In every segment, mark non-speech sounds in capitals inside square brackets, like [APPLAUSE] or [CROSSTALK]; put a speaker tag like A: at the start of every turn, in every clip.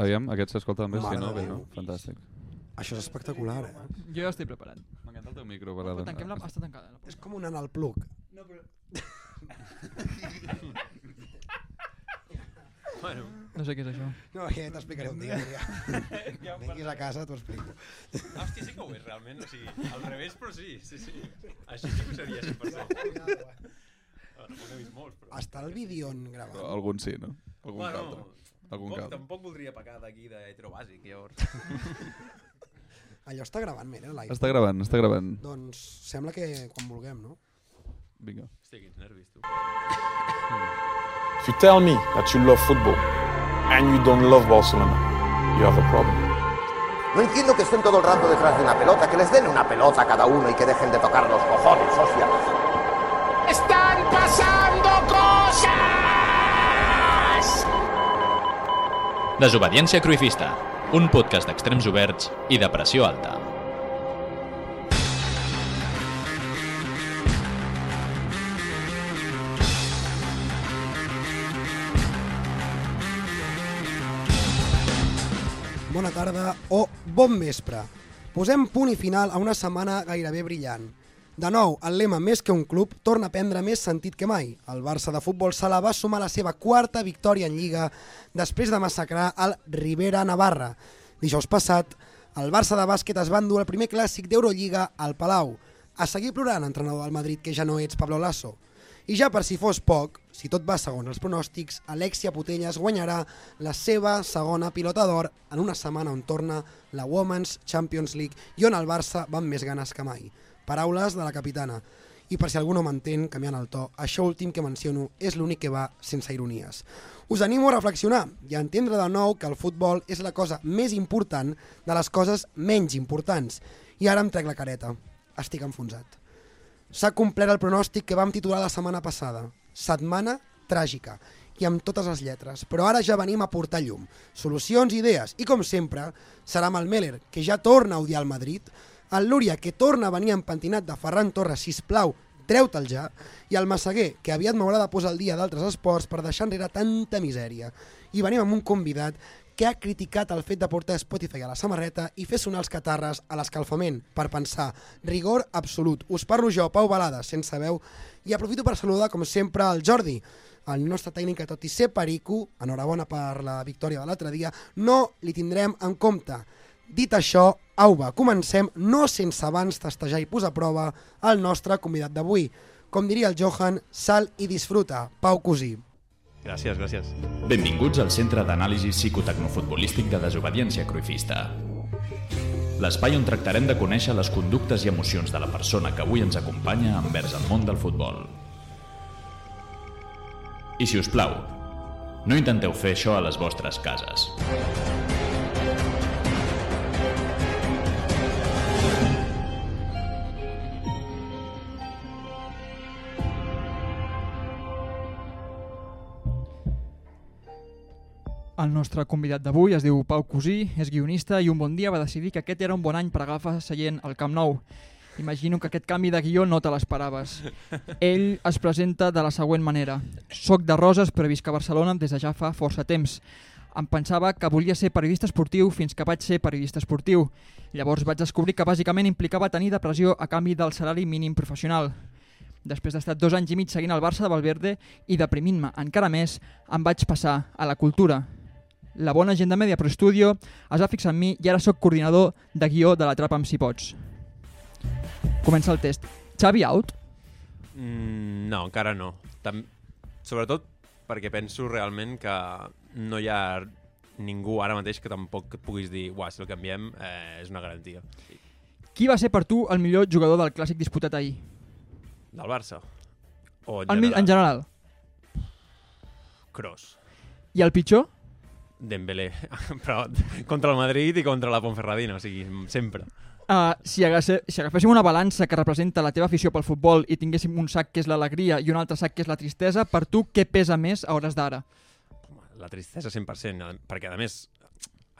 A: Aviam, aquest s'escolta també,
B: Mare
A: si no,
B: de
A: bé,
B: Déu.
A: no? Fantàstic.
B: Això és espectacular, eh?
C: Jo ja estic preparant.
A: M'encanta el teu micro,
C: Però
A: Barada.
C: tanquem la... Està tancada. La
B: És com un anal plug.
C: no, però...
D: Bueno,
C: no sé què és això.
B: No, ja t'explicaré un dia. [LAUGHS] Ja. Vinguis a casa, t'ho explico.
D: hòstia, sí que ho és realment, o sigui, al revés, però sí, sí, sí. Això sí que ho seria 100%. Ah, No n'he vist molts, però...
B: Està el vídeo on
A: Però
B: gravant.
A: Algun sí, no? Algun
D: Bueno,
A: altre. Algun
D: tampoc,
A: cal.
D: tampoc voldria pecar d'aquí eh, d'heterobàsic, llavors.
B: Allò està gravant, mira, l'aigua.
A: Està gravant, està gravant.
B: Doncs sembla que quan vulguem, no?
A: Vinga.
D: Hòstia, quins nervis, tu.
E: If you tell me that you love football and you don't love Barcelona, you have a problem.
F: No entiendo que estén todo el rato detrás de una pelota, que les den una pelota a cada uno y que dejen de tocar los cojones, hostia.
G: ¡Están pasando cosas!
H: Desobediència Cruifista, un podcast d'extrems oberts i de pressió alta.
B: Bona tarda o bon vespre. Posem punt i final a una setmana gairebé brillant. De nou, el lema més que un club torna a prendre més sentit que mai. El Barça de futbol sala va sumar la seva quarta victòria en Lliga després de massacrar el Rivera Navarra. Dijous passat, el Barça de bàsquet es va endur el primer clàssic d'Eurolliga al Palau. A seguir plorant, entrenador del Madrid, que ja no ets Pablo Lasso. I ja per si fos poc, si tot va segons els pronòstics, Alexia Putellas guanyarà la seva segona pilota d'or en una setmana on torna la Women's Champions League i on el Barça va amb més ganes que mai. Paraules de la capitana. I per si algú no m'entén, canviant el to, això últim que menciono és l'únic que va sense ironies. Us animo a reflexionar i a entendre de nou que el futbol és la cosa més important de les coses menys importants. I ara em trec la careta. Estic enfonsat s'ha complert el pronòstic que vam titular la setmana passada. Setmana tràgica i amb totes les lletres, però ara ja venim a portar llum, solucions i idees, i com sempre, serà amb el Meller, que ja torna a odiar el Madrid, el Lúria, que torna a venir empentinat de Ferran Torres, sisplau, treu-te'l ja, i el Massaguer, que aviat m'haurà de posar al dia d'altres esports per deixar enrere tanta misèria. I venim amb un convidat que ha criticat el fet de portar Spotify a la samarreta i fer sonar els catarres a l'escalfament per pensar rigor absolut. Us parlo jo, Pau Balada, sense veu, i aprofito per saludar, com sempre, el Jordi, el nostre tècnic que, tot i ser perico, enhorabona per la victòria de l'altre dia, no li tindrem en compte. Dit això, au va, comencem, no sense abans testejar i posar a prova el nostre convidat d'avui. Com diria el Johan, sal i disfruta. Pau Cosí.
D: Gràcies, gràcies.
H: Benvinguts al Centre d'Anàlisi Psicotecnofutbolístic de Desobediència Cruifista. L'espai on tractarem de conèixer les conductes i emocions de la persona que avui ens acompanya envers el món del futbol. I si us plau, no intenteu fer això a les vostres cases.
C: El nostre convidat d'avui es diu Pau Cosí, és guionista i un bon dia va decidir que aquest era un bon any per agafar seient al Camp Nou. Imagino que aquest canvi de guió no te l'esperaves. Ell es presenta de la següent manera. Soc de Roses però visc a Barcelona des de ja fa força temps. Em pensava que volia ser periodista esportiu fins que vaig ser periodista esportiu. Llavors vaig descobrir que bàsicament implicava tenir depressió a canvi del salari mínim professional. Després d'estar dos anys i mig seguint el Barça de Valverde i deprimint-me encara més, em vaig passar a la cultura. La bona gent de Media Pro Studio es va fixar en mi i ara sóc coordinador de guió de la Trapa amb si pots. Comença el test. Xavi out?
D: Mm, no, encara no. Tam... Sobretot perquè penso realment que no hi ha ningú ara mateix que tampoc et puguis dir uah, si el canviem eh, és una garantia.
C: Qui va ser per tu el millor jugador del clàssic disputat ahir?
D: Del Barça? O en
C: El mi-
D: general?
C: en general.
D: Kroos.
C: I el pitjor?
D: Dembélé. [LAUGHS] Però contra el Madrid i contra la Ponferradina, o sigui, sempre.
C: Uh, si, agasse, si agaféssim una balança que representa la teva afició pel futbol i tinguéssim un sac que és l'alegria i un altre sac que és la tristesa, per tu què pesa més a hores d'ara?
D: La tristesa 100%, perquè a més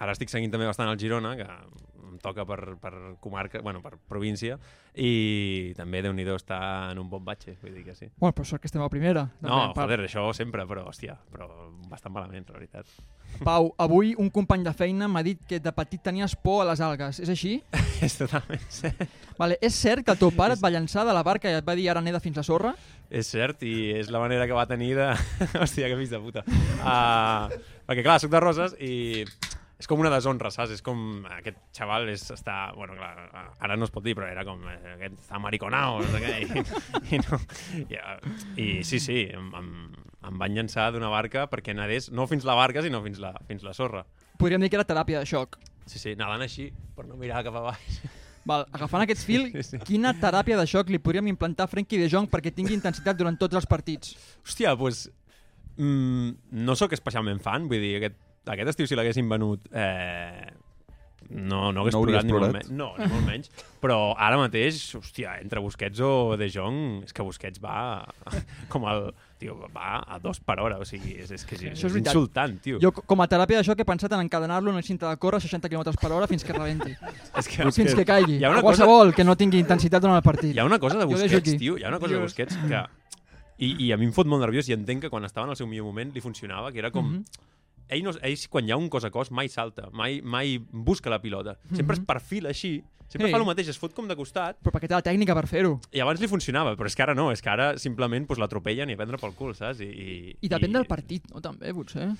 D: Ara estic seguint també bastant el Girona, que em toca per, per comarca, bueno, per província, i també, déu nhi està en un bon batxe, vull dir que sí.
C: Bueno, però sort que estem a primera.
D: No,
C: també, en part.
D: joder, això sempre, però, hòstia, però bastant malament, la veritat. [LAUGHS]
C: Pau, avui un company de feina m'ha dit que de petit tenies por a les algues. És així?
D: és totalment cert.
C: Vale, és cert que el
D: [LAUGHS]
C: teu pare et va llançar de la barca i et va dir ara neda fins a sorra?
D: És cert, i és la manera que va tenir de... [LAUGHS] Hòstia, que fills de puta. Uh, perquè, clar, soc de Roses i és com una deshonra, saps? És com... Aquest xaval és, està... Bueno, clar, ara no es pot dir, però era com... eh, Aquest està mariconao, no sé què. I, i, no, i, eh, i sí, sí, em, em, em van llançar d'una barca perquè anés no fins la barca, sinó fins la, fins la sorra.
C: Podríem dir que era teràpia de xoc.
D: Sí, sí, nedant així, per no mirar cap a baix.
C: Val, agafant aquest fil,
D: Sí, sí.
C: quina teràpia de xoc li podríem implantar a Frenkie de Jong perquè tingui intensitat durant tots els partits?
D: Hòstia, doncs... Mm, no sóc especialment fan, vull dir, aquest, aquest estiu si l'haguessin venut... Eh, no, no hagués
A: No hauries
D: plorat, ni molt,
A: plorat?
D: menys, no, ni molt menys. Però ara mateix, hòstia, entre Busquets o De Jong, és que Busquets va [LAUGHS] com el... Tio, va a dos per hora, o sigui, és, és que és, és,
C: Això és veritat.
D: insultant, tio.
C: Jo, co- com a teràpia de xoc, he pensat en encadenar-lo en una cinta de córrer a 60 km per hora fins que
D: [LAUGHS]
C: rebenti.
D: és que,
C: fins que caigui.
D: Hi ha una
C: a
D: cosa
C: qualsevol que no tingui intensitat durant el partit.
D: Hi ha una cosa de
C: Jo deixo
D: Busquets,
C: aquí.
D: tio, hi ha una cosa de
C: Dios.
D: Busquets
C: [CLEARS THROAT]
D: que... I, I a mi em fot molt nerviós i entenc que quan estava en el seu millor moment li funcionava, que era com... Mm
C: Mhm.
D: -hmm. ell, no, ell, quan hi ha un cos a cos, mai salta, mai, mai busca la pilota. Sempre es perfila així, sempre
C: Mhm. Sí.
D: fa el mateix, es fot com de costat,
C: Però perquè té la tècnica per fer-ho.
D: i abans li funcionava, però és que ara no, és que ara simplement pues, l'atropellen i a prendre pel cul, saps? I, i,
C: I depèn del partit, no? També, potser.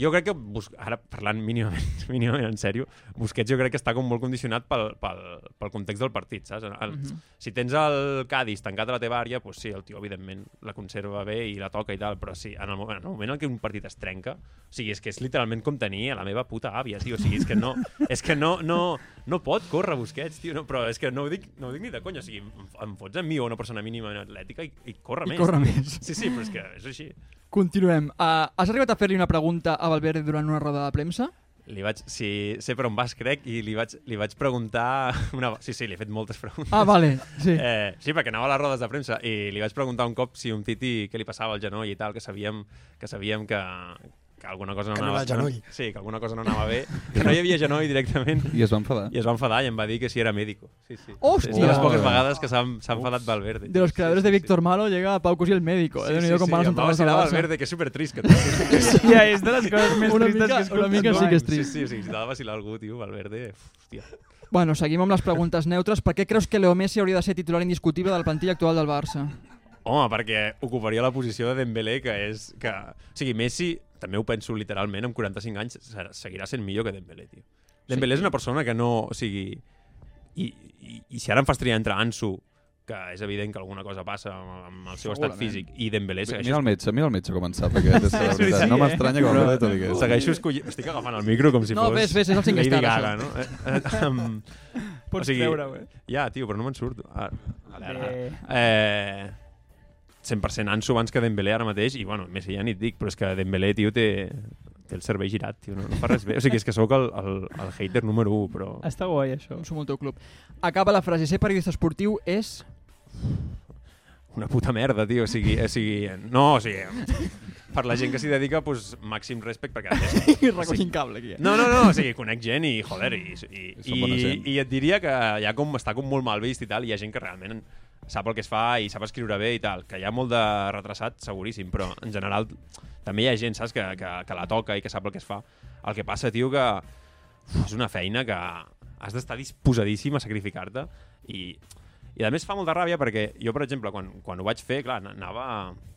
D: Jo crec que, bus... ara parlant mínimament, [LAUGHS] mínimament en sèrio, Busquets jo crec que està com molt condicionat pel, pel, pel context del partit, saps? El, el,
C: Mhm.
D: Si tens el Cádiz tancat a la teva àrea, doncs sí, el tio evidentment la conserva bé i la toca i tal, però sí, en el moment en, el moment en què un partit es trenca, o sigui, és que és literalment com tenir a la meva puta àvia, tio, o sigui, és que
C: [LAUGHS]
D: no, és que no, no, no pot córrer Busquets, tio, no, però és que no ho dic, no ho dic ni de conya, o sigui, em, em fots a mi o una persona mínimament atlètica i, i corre
C: I
D: més.
C: corre
D: tio.
C: més.
D: Sí, sí, però és que és així.
C: Continuem. Uh, has arribat a fer-li una pregunta a Valverde durant una roda de premsa?
D: Li vaig, sí, sé per on vas, crec, i li vaig, li vaig preguntar... [LAUGHS] Una, sí, sí, li he fet moltes preguntes.
C: Ah, vale, sí. Eh,
D: Eh, sí, perquè anava a les rodes de premsa i li vaig preguntar un cop si un titi què li passava al genoll i tal, que sabíem que, sabíem que, que alguna cosa no
B: Que no
D: anava...
B: era el genoll.
D: sí, que alguna cosa no anava bé, que no hi havia genoll directament.
A: I es va enfadar.
D: I es va enfadar i em va dir que si era mèdico. Sí, sí.
C: Hòstia!
D: És de les poques vegades que s'ha s'ha enfadat Valverde.
C: de los creadores
D: Sí,
C: de
D: sí,
C: Víctor Malo llega Pau Cusí el médico. Sí, eh? sí, com van
D: em va
C: sí,
D: vacilar
C: Valverde.
D: Valverde, que és supertrist. Que
C: [LAUGHS]
D: té.
C: Ja, és de les coses més una
D: tristes que
C: mica,
D: he
C: Una
D: escoltat
C: mica sí
D: mai.
C: que és trist.
D: Sí, sí, sí, si t'ha de vacilar algú, tio, Valverde, hòstia.
C: Bueno, seguim amb les preguntes neutres. Per què creus que Leo Messi hauria de ser titular indiscutible del plantilla actual del Barça?
D: Home, perquè ocuparia la posició de Dembélé, que és... Que... O sigui, Messi, també ho penso literalment, amb 45 anys se- seguirà sent millor que Dembélé, tio. Dembélé és una persona que no... O sigui... I, i, i si ara em fas triar entre Ansu, que és evident que alguna cosa passa amb, amb el seu estat
A: Segurament.
D: físic, i Dembélé
A: Mira
D: segueixo,
A: el metge, mira el metge com en sap aquest, és la
D: Sí,
A: veritat.
D: sí,
A: No
D: eh?
A: m'estranya que ho
D: Però-
A: hagi de dir.
D: segueixo escollint... Estic agafant el micro com si
C: No,
D: fos...
C: ves, ves, és el cinc
D: Lady
C: star,
D: Gaga,
C: això.
D: no? Eh, eh, em-
C: Pots treure-ho, eh?
D: Ja, tio, però no me'n surto. Ara, ara, ara.
C: Bé.
D: Eh, 100% Ansu abans que Dembélé ara mateix, i bueno, Messi ja ni et dic, però és que Dembélé, tio, té, té el cervell girat, tio, no, no fa res bé. O sigui, és que sóc el, el, el hater número 1, però...
I: Està guai, això.
C: Som el teu club. Acaba la frase, ser periodista esportiu és...
D: Una puta merda, tio, o sigui... O sigui no, o sigui... Per la gent que s'hi dedica, doncs, màxim respecte,
A: [LAUGHS]
D: perquè... a més,
C: Recollint cable, aquí.
D: No, no, no, o sigui, conec gent i, joder, i, i,
A: eh? Són
D: i,
A: bona gent.
D: i et diria que ja com està com molt mal vist i tal, hi ha gent que realment sap el que es fa i sap escriure bé i tal, que hi ha molt de retrasat, seguríssim, però en general també hi ha gent, saps, que, que, que la toca i que sap el que es fa. El que passa, tio, que uf, és una feina que has d'estar disposadíssim a sacrificar-te i i a més fa molta ràbia perquè jo, per exemple, quan, quan ho vaig fer, clar, an- anava...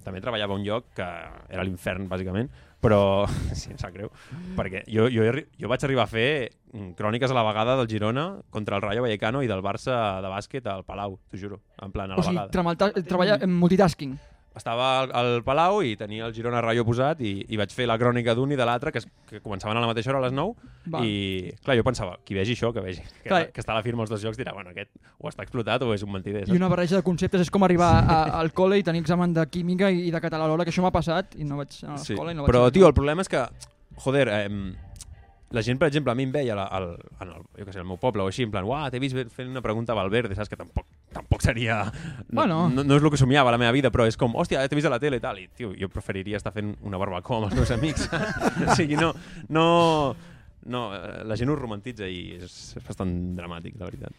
D: També treballava a un lloc que era l'infern, bàsicament, però... [LAUGHS] Sí, em sap greu. Perquè jo, jo, he arri- jo vaig arribar a fer mm, cròniques a la vegada del Girona contra el Rayo Vallecano i del Barça de bàsquet al Palau, t'ho juro. En plan, a
C: O
D: la
C: sigui,
D: vegada
C: tremalta- treballar en multitasking.
D: estava al, al Palau i tenia el Girona Rayo posat i, i vaig fer la crònica d'un i de l'altre que, es- que començaven a la mateixa hora a les 9
C: Va.
D: i clar, jo pensava, qui vegi això, que vegi que,
C: Clar.
D: que està a la firma els dos jocs dirà, bueno, aquest o està explotat o és un mentider.
C: I una barreja de conceptes és com arribar a, al col·le i tenir examen de química i de català alhora, que això m'ha passat i no vaig anar a
D: Sí.
C: l'escola i no vaig
D: Però,
C: saber
D: tio, el
C: res.
D: problema és que, joder, eh, la gent, per exemple, a mi em veia la, al, en el, jo què sé, al meu poble o així, en plan, uah, t'he vist fent una pregunta a Valverde, saps? Que tampoc, tampoc seria... No,
C: Bueno.
D: no, no és el que somiava a la meva vida, però és com, hòstia, t'he vist a la tele i tal. I, [LAUGHS] tio, jo preferiria estar fent una barbacoa amb els meus amics. saps? o sigui, no... no No, eh, la gent ho romantitza i és, és bastant dramàtic, la veritat.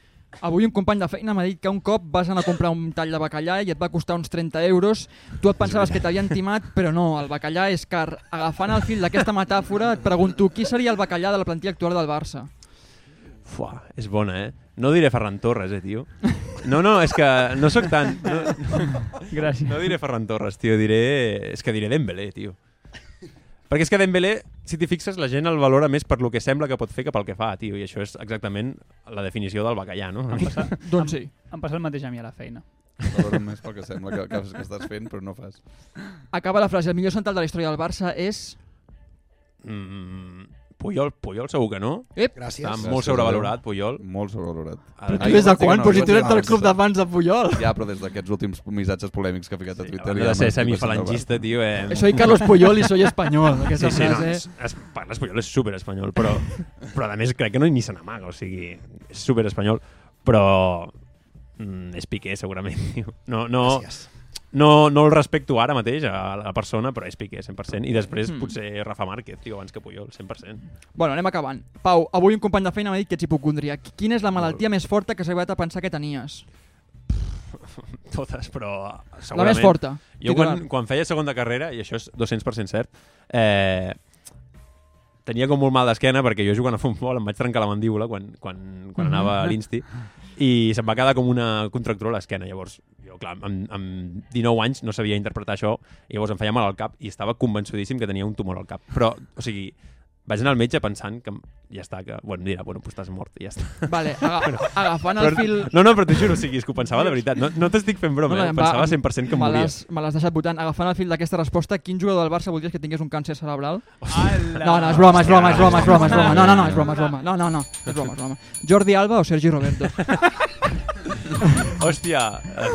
C: Avui un company de feina m'ha dit que un cop vas anar a comprar un tall de bacallà i et va costar uns 30 euros. Tu et pensaves que t'havien timat, però no, el bacallà és car. Agafant el fil d'aquesta metàfora, et pregunto qui seria el bacallà de la plantilla actual del Barça?
D: Fuà, és bona, eh? No diré Ferran Torres, eh, tio? No, no, és que no sóc tan... No,
C: Gràcies.
D: no diré Ferran Torres, tio, diré... És que diré Dembélé, tio. Perquè és que Dembélé, si t'hi fixes, la gent el valora més per lo que sembla que pot fer que pel que fa, tio, i això és exactament la definició del bacallà, no? Una mica.
C: Doncs sí.
I: Em passa el mateix a mi a la feina.
A: Valoro més pel que sembla que, que, que estàs fent, però no fas.
C: Acaba la frase. El millor central de la història del Barça és...
D: Mm, Puyol, Puyol segur que no.
C: Ep!
B: Gràcies.
D: Està
A: Gràcies,
D: molt sobrevalorat, Puyol.
A: Molt sobrevalorat.
D: Però tu
A: Ai,
C: Des de
A: pot ser
C: quan?
A: que
C: Però si tu
A: pot
C: eres
A: ser
C: del
A: que
C: club
A: no.
C: d'abans de Puyol.
A: Ja, però des d'aquests últims missatges polèmics que ha ficat a Twitter...
D: Hauria
A: ja
D: de ser
A: m'estic
D: semifalangista, tio, eh?
C: Soy Carlos Puyol i soy espanyol. Aquesta
D: Sí, sí, no,
C: frase...
D: és, és, parla espanyol, és super espanyol, però,
C: [LAUGHS]
D: però a més crec que no ni se n'amaga, o sigui, és super espanyol, però mm, és Piqué, segurament. [LAUGHS] tio. No,
C: Ah,
D: no,
B: Gràcies.
D: no, no el respecto ara mateix a la persona, però és Piqué, 100%, i després mm. potser Rafa Márquez, tio, abans que Puyol, 100%.
C: Bueno, anem acabant. Pau, avui un company de feina m'ha dit que ets hipocondria. Quina és la malaltia més forta que s'ha arribat a pensar que tenies?
D: Totes, però segurament...
C: La més forta.
D: Jo
C: titular.
D: quan, quan feia segon de carrera, i això és 200% cert, eh, tenia com molt mal d'esquena perquè jo jugant a futbol em vaig trencar la mandíbula quan, quan, quan anava a l'insti i se'm va quedar com una contractura a l'esquena. Llavors, jo, clar, amb, amb 19 anys no sabia interpretar això i llavors em feia mal al cap i estava convençudíssim que tenia un tumor al cap. Però, o sigui, vaig anar al metge pensant que ja està, que, bueno, dirà, bueno, pues estàs mort i ja està.
C: Vale, aga agafant el
D: Però,
C: fil...
D: no, no, però t'ho juro, o sigui, és que ho pensava de veritat. No, no t'estic fent broma,
C: no,
D: eh?
C: em va-
D: pensava 100% que em
C: me
D: moria.
C: l'has- Me l'has deixat votant. Agafant el fil d'aquesta resposta, quin jugador del Barça voldries que tingués un càncer cerebral?
I: Ala.
C: No, no, és broma, és broma, és broma, és broma, és broma. No, no, no, és broma, és broma. No, no, no, és broma, és broma. Jordi Alba o Sergi Roberto?
D: Hòstia! eh,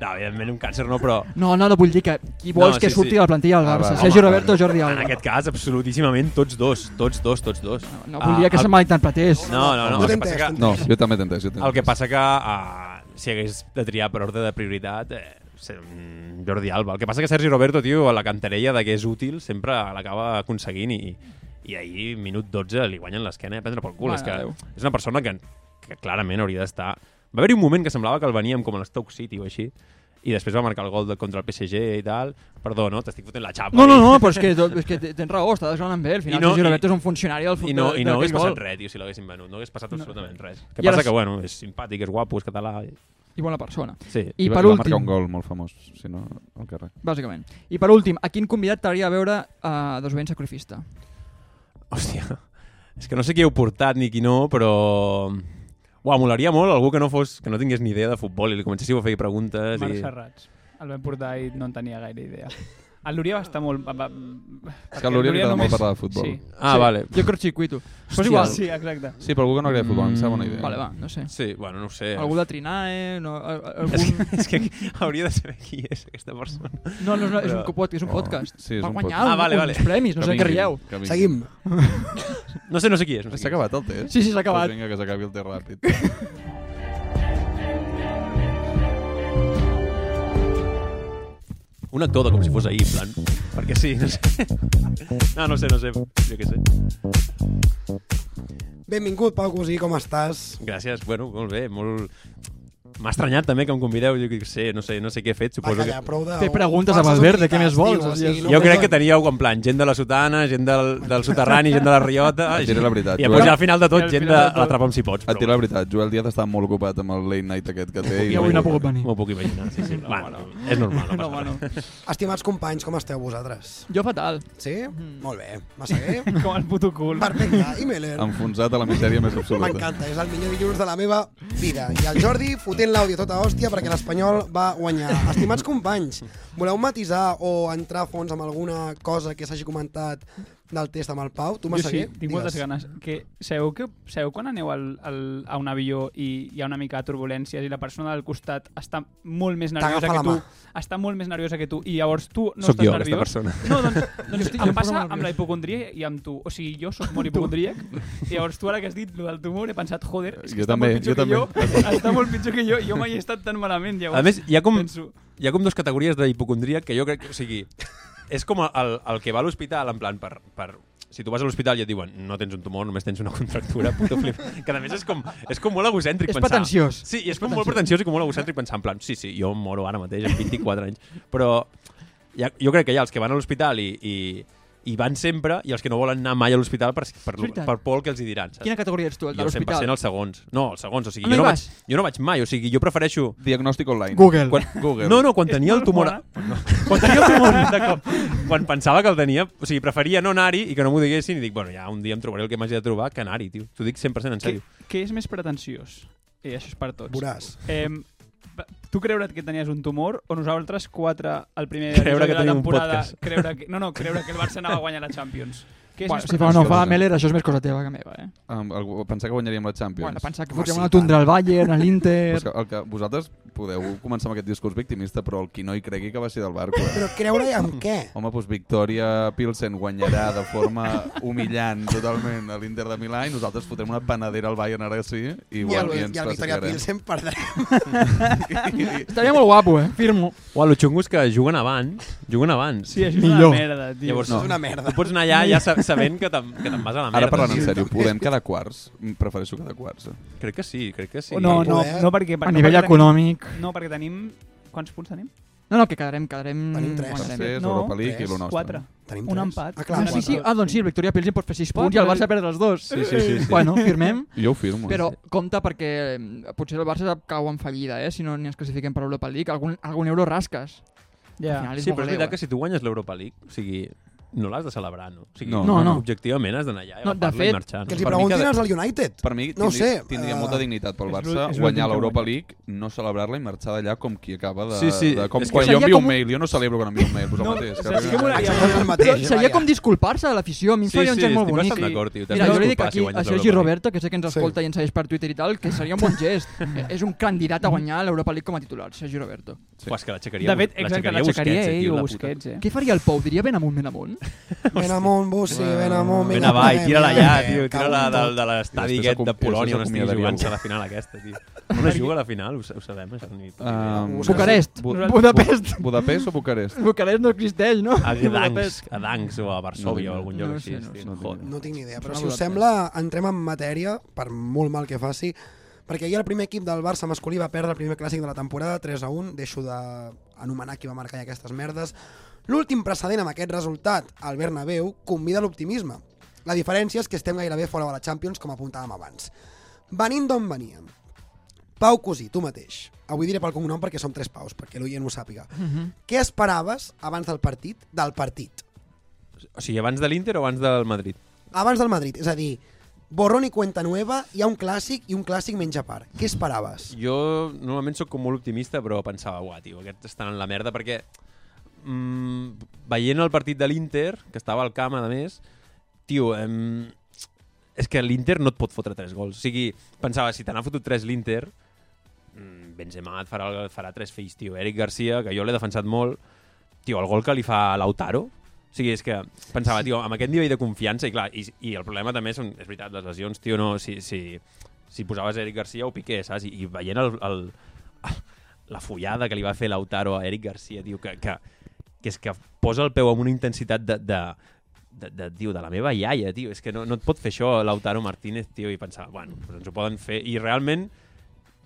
D: No, evidentment un càncer no, però
C: No, no, no vull dir que qui
D: No,
C: vols que
D: sí, Ah,
C: surti
D: sí.
C: de la plantilla del Barça.
A: va.
C: Sergi
A: Home,
C: Roberto o Jordi
D: en
C: Alba.
D: aquest cas absolutíssimament tots dos, tots dos, tots dos.
C: No volia que
D: Ah,
C: se
D: el-
C: malinterpretés.
D: No, no, no,
B: No
D: el que
B: t'he
D: passa
B: entès,
D: que,
A: No, jo també t'entès.
C: Doncs.
D: el que, passa que ah, si hagués de triar per ordre de prioritat, eh, se- mm, Jordi Alba. El que passa que Sergi Roberto, tio, a la cantarella de que és útil sempre l'acaba aconseguint i, i ahir, minut 12, li guanyen l'esquena i a prendre pel cul.
C: Mare
D: és, que,
C: de Déu.
D: és una persona que, que clarament hauria d'estar... Va haver-hi un moment que semblava que el veníem com a l'Stoke City o així, i després va marcar el gol de, contra el PSG i tal. Perdó, no? T'estic fotent la xapa.
C: No, no,
D: eh?
C: no, però és que, és que tens raó, està desgranant bé. Al final,
D: I no-
C: Sergi
D: i-
C: Roberto és un funcionari del
D: I
C: futbol.
D: no, i no
C: d'aquell
D: hagués passat
C: gol.
D: res, tio, si l'haguessin venut. No hagués passat absolutament res. El
C: I
D: que
C: ara
D: passa
C: sí.
D: que, bueno, és simpàtic, és guapo, és català... i-
C: I bona persona.
D: Sí.
C: I per
A: va marcar
C: últim,
A: un gol molt famós, si no, al carrer.
C: bàsicament. I per últim, a quin convidat t'agradaria veure a Desobedient Sacrifista?
D: [LAUGHS] Hòstia, és que no sé qui heu portat ni qui no, però... Uau, molaria molt algú que no fos que no tingués ni idea de futbol i li comencéssiu a fer preguntes
I: Marc
D: i...
I: Serrats. El vam portar i no en tenia gaire idea. El Lúria va estar molt... Va, va,
A: És
I: perquè
A: que a
I: el
A: l'Oriol li
I: Lúria
A: agrada
I: només-
A: molt parlar de futbol.
I: Sí.
A: Sí.
D: Ah, vale.
C: Jo cortocircuito. Però
D: Hòstia.
C: és igual.
I: sí, exacte.
A: sí, però algú que no agrada futbol, em sembla una idea.
C: Mm, Vale, va, no sé.
D: Sí, bueno, no ho sé.
C: Algú de Trinae, no, a- a-
D: [LAUGHS] És
C: algun...
D: que, és que hauria de saber qui és aquesta persona.
C: No, no, no, és un podcast, és un
A: Oh,
C: podcast.
A: sí, és
C: Va
A: un
C: guanyar
A: podcast.
D: Ah, vale, vale.
C: uns premis, no sé què rieu.
A: Que vingui.
B: Seguim.
D: No sé, no sé qui és. No sé
A: S'ha
D: qui és.
A: acabat el test?
C: Sí, sí, s'ha acabat.
A: Doncs vinga, que s'acabi el test
C: [LAUGHS]
A: ràpid.
D: Un actor de com si fos ahir, en plan... Perquè sí, no sé. [LAUGHS] No, no sé, no sé. Jo què sé.
B: Benvingut, Pau Cosí, com estàs?
D: Gràcies, bueno, molt bé, molt... M'ha estranyat també que em convideu, jo què sé, no sé, no sé què he fet,
B: Va,
D: suposo que...
B: calla, prou de...
C: Fer preguntes a
B: falses
C: Valverde, què
B: utilitats,
C: més vols?
B: tio, o sigui,
D: Jo crec que teníeu en plan gent de la sotana, gent del, del soterrani, gent de la riota...
A: [LAUGHS] Et diré la veritat,
D: I després
A: Joel.
D: ja al final de
I: I
D: tot
I: al
D: gent de
I: final de tot-
D: l'atrapa'm si pots.
A: Et diré la veritat, Joel Díaz està molt ocupat amb el late night aquest que té.
C: I avui no ha pogut venir.
D: M'ho puc imaginar, sí, sí. bueno, és normal, no,
C: No,
D: passa
C: bueno.
D: res.
B: Estimats companys, com esteu vosaltres?
C: Jo fatal.
B: Sí?
I: Mhm.
B: Molt bé. Massaguer?
I: Com el puto cul.
B: Perfecte. I Meller?
A: [LAUGHS] Enfonsat a la misèria més absoluta.
B: M'encanta, és el millor dilluns de la meva vida. I el Jordi fotent l'àudio tota hòstia perquè l'Espanyol va guanyar. Estimats companys, voleu matisar o entrar a fons amb alguna cosa que s'hagi comentat del test amb el Pau? Tu,
I: Jo sí,
B: Massaguer,
I: tinc moltes ganes. Que, sabeu, que, sabeu quan aneu al, al, a un avió i hi ha una mica de turbulències i la persona del costat està molt més nerviosa
B: T'agafa
I: que
B: la
I: tu,
B: mà.
I: està molt més nerviosa que tu i llavors tu no
D: Sóc
I: estàs
D: jo, aquesta
I: nerviós?
D: persona.
I: No, doncs, doncs
C: estic- jo em
I: em
C: poso
I: passa
C: molt
I: amb la hipocondria i amb tu. O sigui, jo sóc molt hipocondríac i llavors tu ara que has dit lo del tumor he pensat, joder, és que
A: Jo
I: està
A: també, jo
I: molt pitjor que jo, està molt pitjor que jo, jo mai he estat tan malament. Llavors,
D: A més, hi ha com,
I: penso,
D: hi ha com dues categories d'hipocondria que jo crec que, o sigui, és com el, el que va a l'hospital en plan per, per si tu vas a l'hospital i et diuen no tens un tumor, només tens una contractura, puto flip. [LAUGHS] Que a més és com, és com molt egocèntric
C: És
D: pensar.
C: pretensiós.
D: Sí, i és com molt pretensiós i com molt egocèntric pensar en plan, sí, sí, jo moro ara mateix, amb 24 anys. Però ja, jo crec que hi ha els que van a l'hospital i, i, i van sempre i els que no volen anar mai a l'hospital per, per,
C: És veritat.
D: per por que els hi diran. Saps?
C: Quina categoria ets tu, el de
D: jo 100%
C: l'hospital?
D: els segons. No, els segons. O sigui, jo,
C: Ah, no hi
D: no vaig,
C: vas?
D: jo no vaig mai. O sigui, jo prefereixo...
A: Diagnòstic online.
C: Google.
A: Quan, Google.
D: No, no, quan
I: És
D: tenia el
I: molt
D: tumor... No, quan tenia el tumor de cop, quan pensava que el tenia, o sigui, preferia no anar-hi i que no m'ho diguessin i dic, bueno, ja un dia em trobaré el que m'hagi de trobar que anar-hi, tio. T'ho dic 100% en
I: Què,
D: sèrio.
I: què és més pretensiós? I això és per tots.
B: Veuràs.
I: Eh, tu creure't que tenies un tumor o nosaltres quatre al primer
D: Creure
I: episodi
D: que
I: de la
D: tenim un
I: temporada
D: podcast.
I: creure que, no, no, creure que el Barça anava a guanyar la Champions què és
C: Bueno,
I: més
C: si fa o no
I: pretensiós?
C: fa Meller, això és més cosa teva que meva, eh?
A: Um, algú, pensar que guanyaríem la Champions.
C: Bueno, pensar que
B: Home,
C: fotíem
B: sí,
C: una
B: tant.
C: tundra al Bayern, a
A: Però
C: l'Inter...
A: és que, el que vosaltres podeu començar amb aquest discurs victimista, però el qui no hi cregui que va ser del Barco. Eh?
B: Però creure en què?
A: Home, doncs Victòria Pilsen guanyarà de forma humillant totalment a l'Inter de Milà i nosaltres fotrem una panadera al Bayern ara sí i,
B: I
A: guan-
B: el,
A: i ens
B: i el Victoria
A: classificarem.
B: Pilsen perdrem.
C: Estaria molt guapo, eh? Firmo.
D: Uau, el xungo és que juguen abans, juguen abans.
I: sí, això és una
C: Millor.
I: merda tio.
D: Llavors,
A: No.
B: És una merda.
D: Tu pots anar allà ja sa- sabent que te'n que te'n vas a la merda.
A: Ara parlant en
D: sí.
A: sèrio, podem quedar quarts? Mm, Prefereixo quedar quarts. Eh?
D: Crec que sí, crec que sí.
I: O no,
B: Per
I: no,
B: poder-
I: no perquè,
C: A
I: no
C: nivell
I: perquè tenim,
C: econòmic...
I: no perquè tenim quants punts tenim?
C: No, no, que quedarem, quedarem...
B: Tenim tres.
C: guanyarem.
A: Tercers,
I: No,
A: Europa League
B: tres,
A: i lo nostre.
I: Quatre.
B: Tenim
I: Un
B: tres.
I: empat.
B: Ah, clar,
C: Ah, sí, sí.
I: quatre.
C: Ah, doncs sí, el Victoria Pilsen pot fer 6 punts
I: Quatre.
C: i el Barça perdre els dos.
A: Sí, sí, sí. sí.
C: Bueno, firmem,
A: Jo ho firmo. eh.
C: però
A: sí.
C: compte perquè eh, potser el Barça cau en fallida, eh? Si no ni ens classifiquem per Europa League, algun, algun euro rasques.
I: Ja.
C: Al final és
D: Sí,
C: molt
D: però és
C: greu,
D: veritat
C: eh?
D: que si tu guanyes l'Europa League, o sigui, no l'has de celebrar, no? O sigui,
A: No.
C: No, no.
D: Objectivament has d'anar allà i
C: No, de
D: agafar-lo
C: fet,
D: i marxar. No?
B: Que els hi
A: Per mi
B: preguntin
A: cada-
B: als del United.
A: Per mi
B: No ho
A: tindri-
B: sé,
A: tindria
B: eh,
A: molta dignitat pel
I: és
A: Barça
I: l'últim que
A: guanyar
I: guanya.
A: l'Europa League, no celebrar-la i marxar d'allà com qui acaba de...
D: Sí, sí.
A: de com
D: És que
A: quan jo
C: seria
A: envio un
C: com un-
A: mail, jo no celebro que envio un mail, però el mateix.
I: saps què
A: que-
I: molaria?
B: Exactament el
C: Però
B: mateix.
C: seria
B: vaja.
C: com disculpar-se a l'afició, a mi em
D: Sí,
C: faria
D: sí,
C: un gest molt
D: estic
C: bonic.
D: bastant d'acord, tio. T'has
C: Mira,
D: de
C: jo li dic
D: disculpar si
C: aquí
D: guanyes
C: a Sergi
D: l'Europa League.
C: Roberto, que sé que ens
B: Sí.
C: escolta i ens segueix per Twitter i tal, que seria un bon gest. Eh, és un candidat a guanyar l'Europa League com a titular, Sergi Roberto.
A: Sí.
D: Uah, és que l'aixecaria
I: De fet, exacte, l'aixecaria
D: Busquets, eh,
I: ell
D: tio,
I: o
D: la puta.
I: Busquets, eh?
C: Què faria el Pou? Diria ben amunt, ben amunt?
B: Ven amunt, Bussi, ven amunt.
D: Ben
B: vinga,
D: avall,
B: ven,
D: tira-la
B: ven,
D: allà,
B: ven,
D: tio,
B: eh, cago en
D: tira-la de,
B: tot.
D: de l'estadi
A: I després
D: aquest de
A: acom-
D: Polònia
A: després eh.
D: on estigui
A: acomiadaria
D: jugant-se a
A: algú.
D: la final aquesta, tio. On es juga a la final? Ho, sa- ho sabem, això. Ni, ni idea.
A: Um,
C: Bucarest.
A: Bu-
C: Nosaltres- Budapest.
A: Bu- Budapest o Bucarest?
C: Bucarest no existeix, no?
D: a [LAUGHS] Gdansk, a Danks o a Varsovia o
A: No,
D: algun
C: no
D: lloc
C: ho
D: així.
C: sé, no ho
D: tio.
A: sé, no ho sé.
D: Joder.
B: No tinc ni idea, però
C: Sona
B: si us
C: vosaltres.
B: sembla, entrem en matèria, per molt mal que faci, perquè ahir el primer equip del Barça masculí va perdre el primer clàssic de la temporada, 3 a 1, deixo d'anomenar qui va marcar ja aquestes merdes. L'últim precedent amb aquest resultat, el Bernabéu, convida a l'optimisme. La diferència és que estem gairebé fora de la Champions, com apuntàvem abans. Venim d'on veníem. Pau Cosí, tu mateix. Avui diré pel cognom perquè som tres paus, perquè l'oient ho sàpiga. Què esperaves abans del partit? Del partit.
D: O sigui, abans de l'Inter o abans del Madrid?
B: abans del Madrid, és a dir, borrón i cuenta nueva, hi ha un clàssic i un clàssic menja part. Què esperaves?
D: Jo normalment sóc com molt optimista, però pensava, uah, tio, aquests estan en la merda, perquè mm, veient el partit de l'Inter, que estava al camp, a més, tio, em, és que l'Inter no et pot fotre tres gols. O sigui, pensava, si te n'ha fotut tres l'Inter, mm, Benzema et farà, el- farà tres fills, tio. Eric Garcia, que jo l'he defensat molt, tio, el gol que li fa Lautaro, o sigui, és que pensava, tio, amb aquest nivell de confiança, i clar, i, i el problema també són, és veritat, les lesions, tio, no, si, si, si posaves Eric Garcia o Piqué, saps? I, i veient el, el, [LAUGHS] la follada que li va fer Lautaro a Eric Garcia, tio, que, que, que és que posa el peu amb una intensitat de, de, de, de, tio, de la meva iaia, tio. És que no, no et pot fer això Lautaro Martínez, tio, i pensar, bueno, doncs ens ho poden fer. I realment,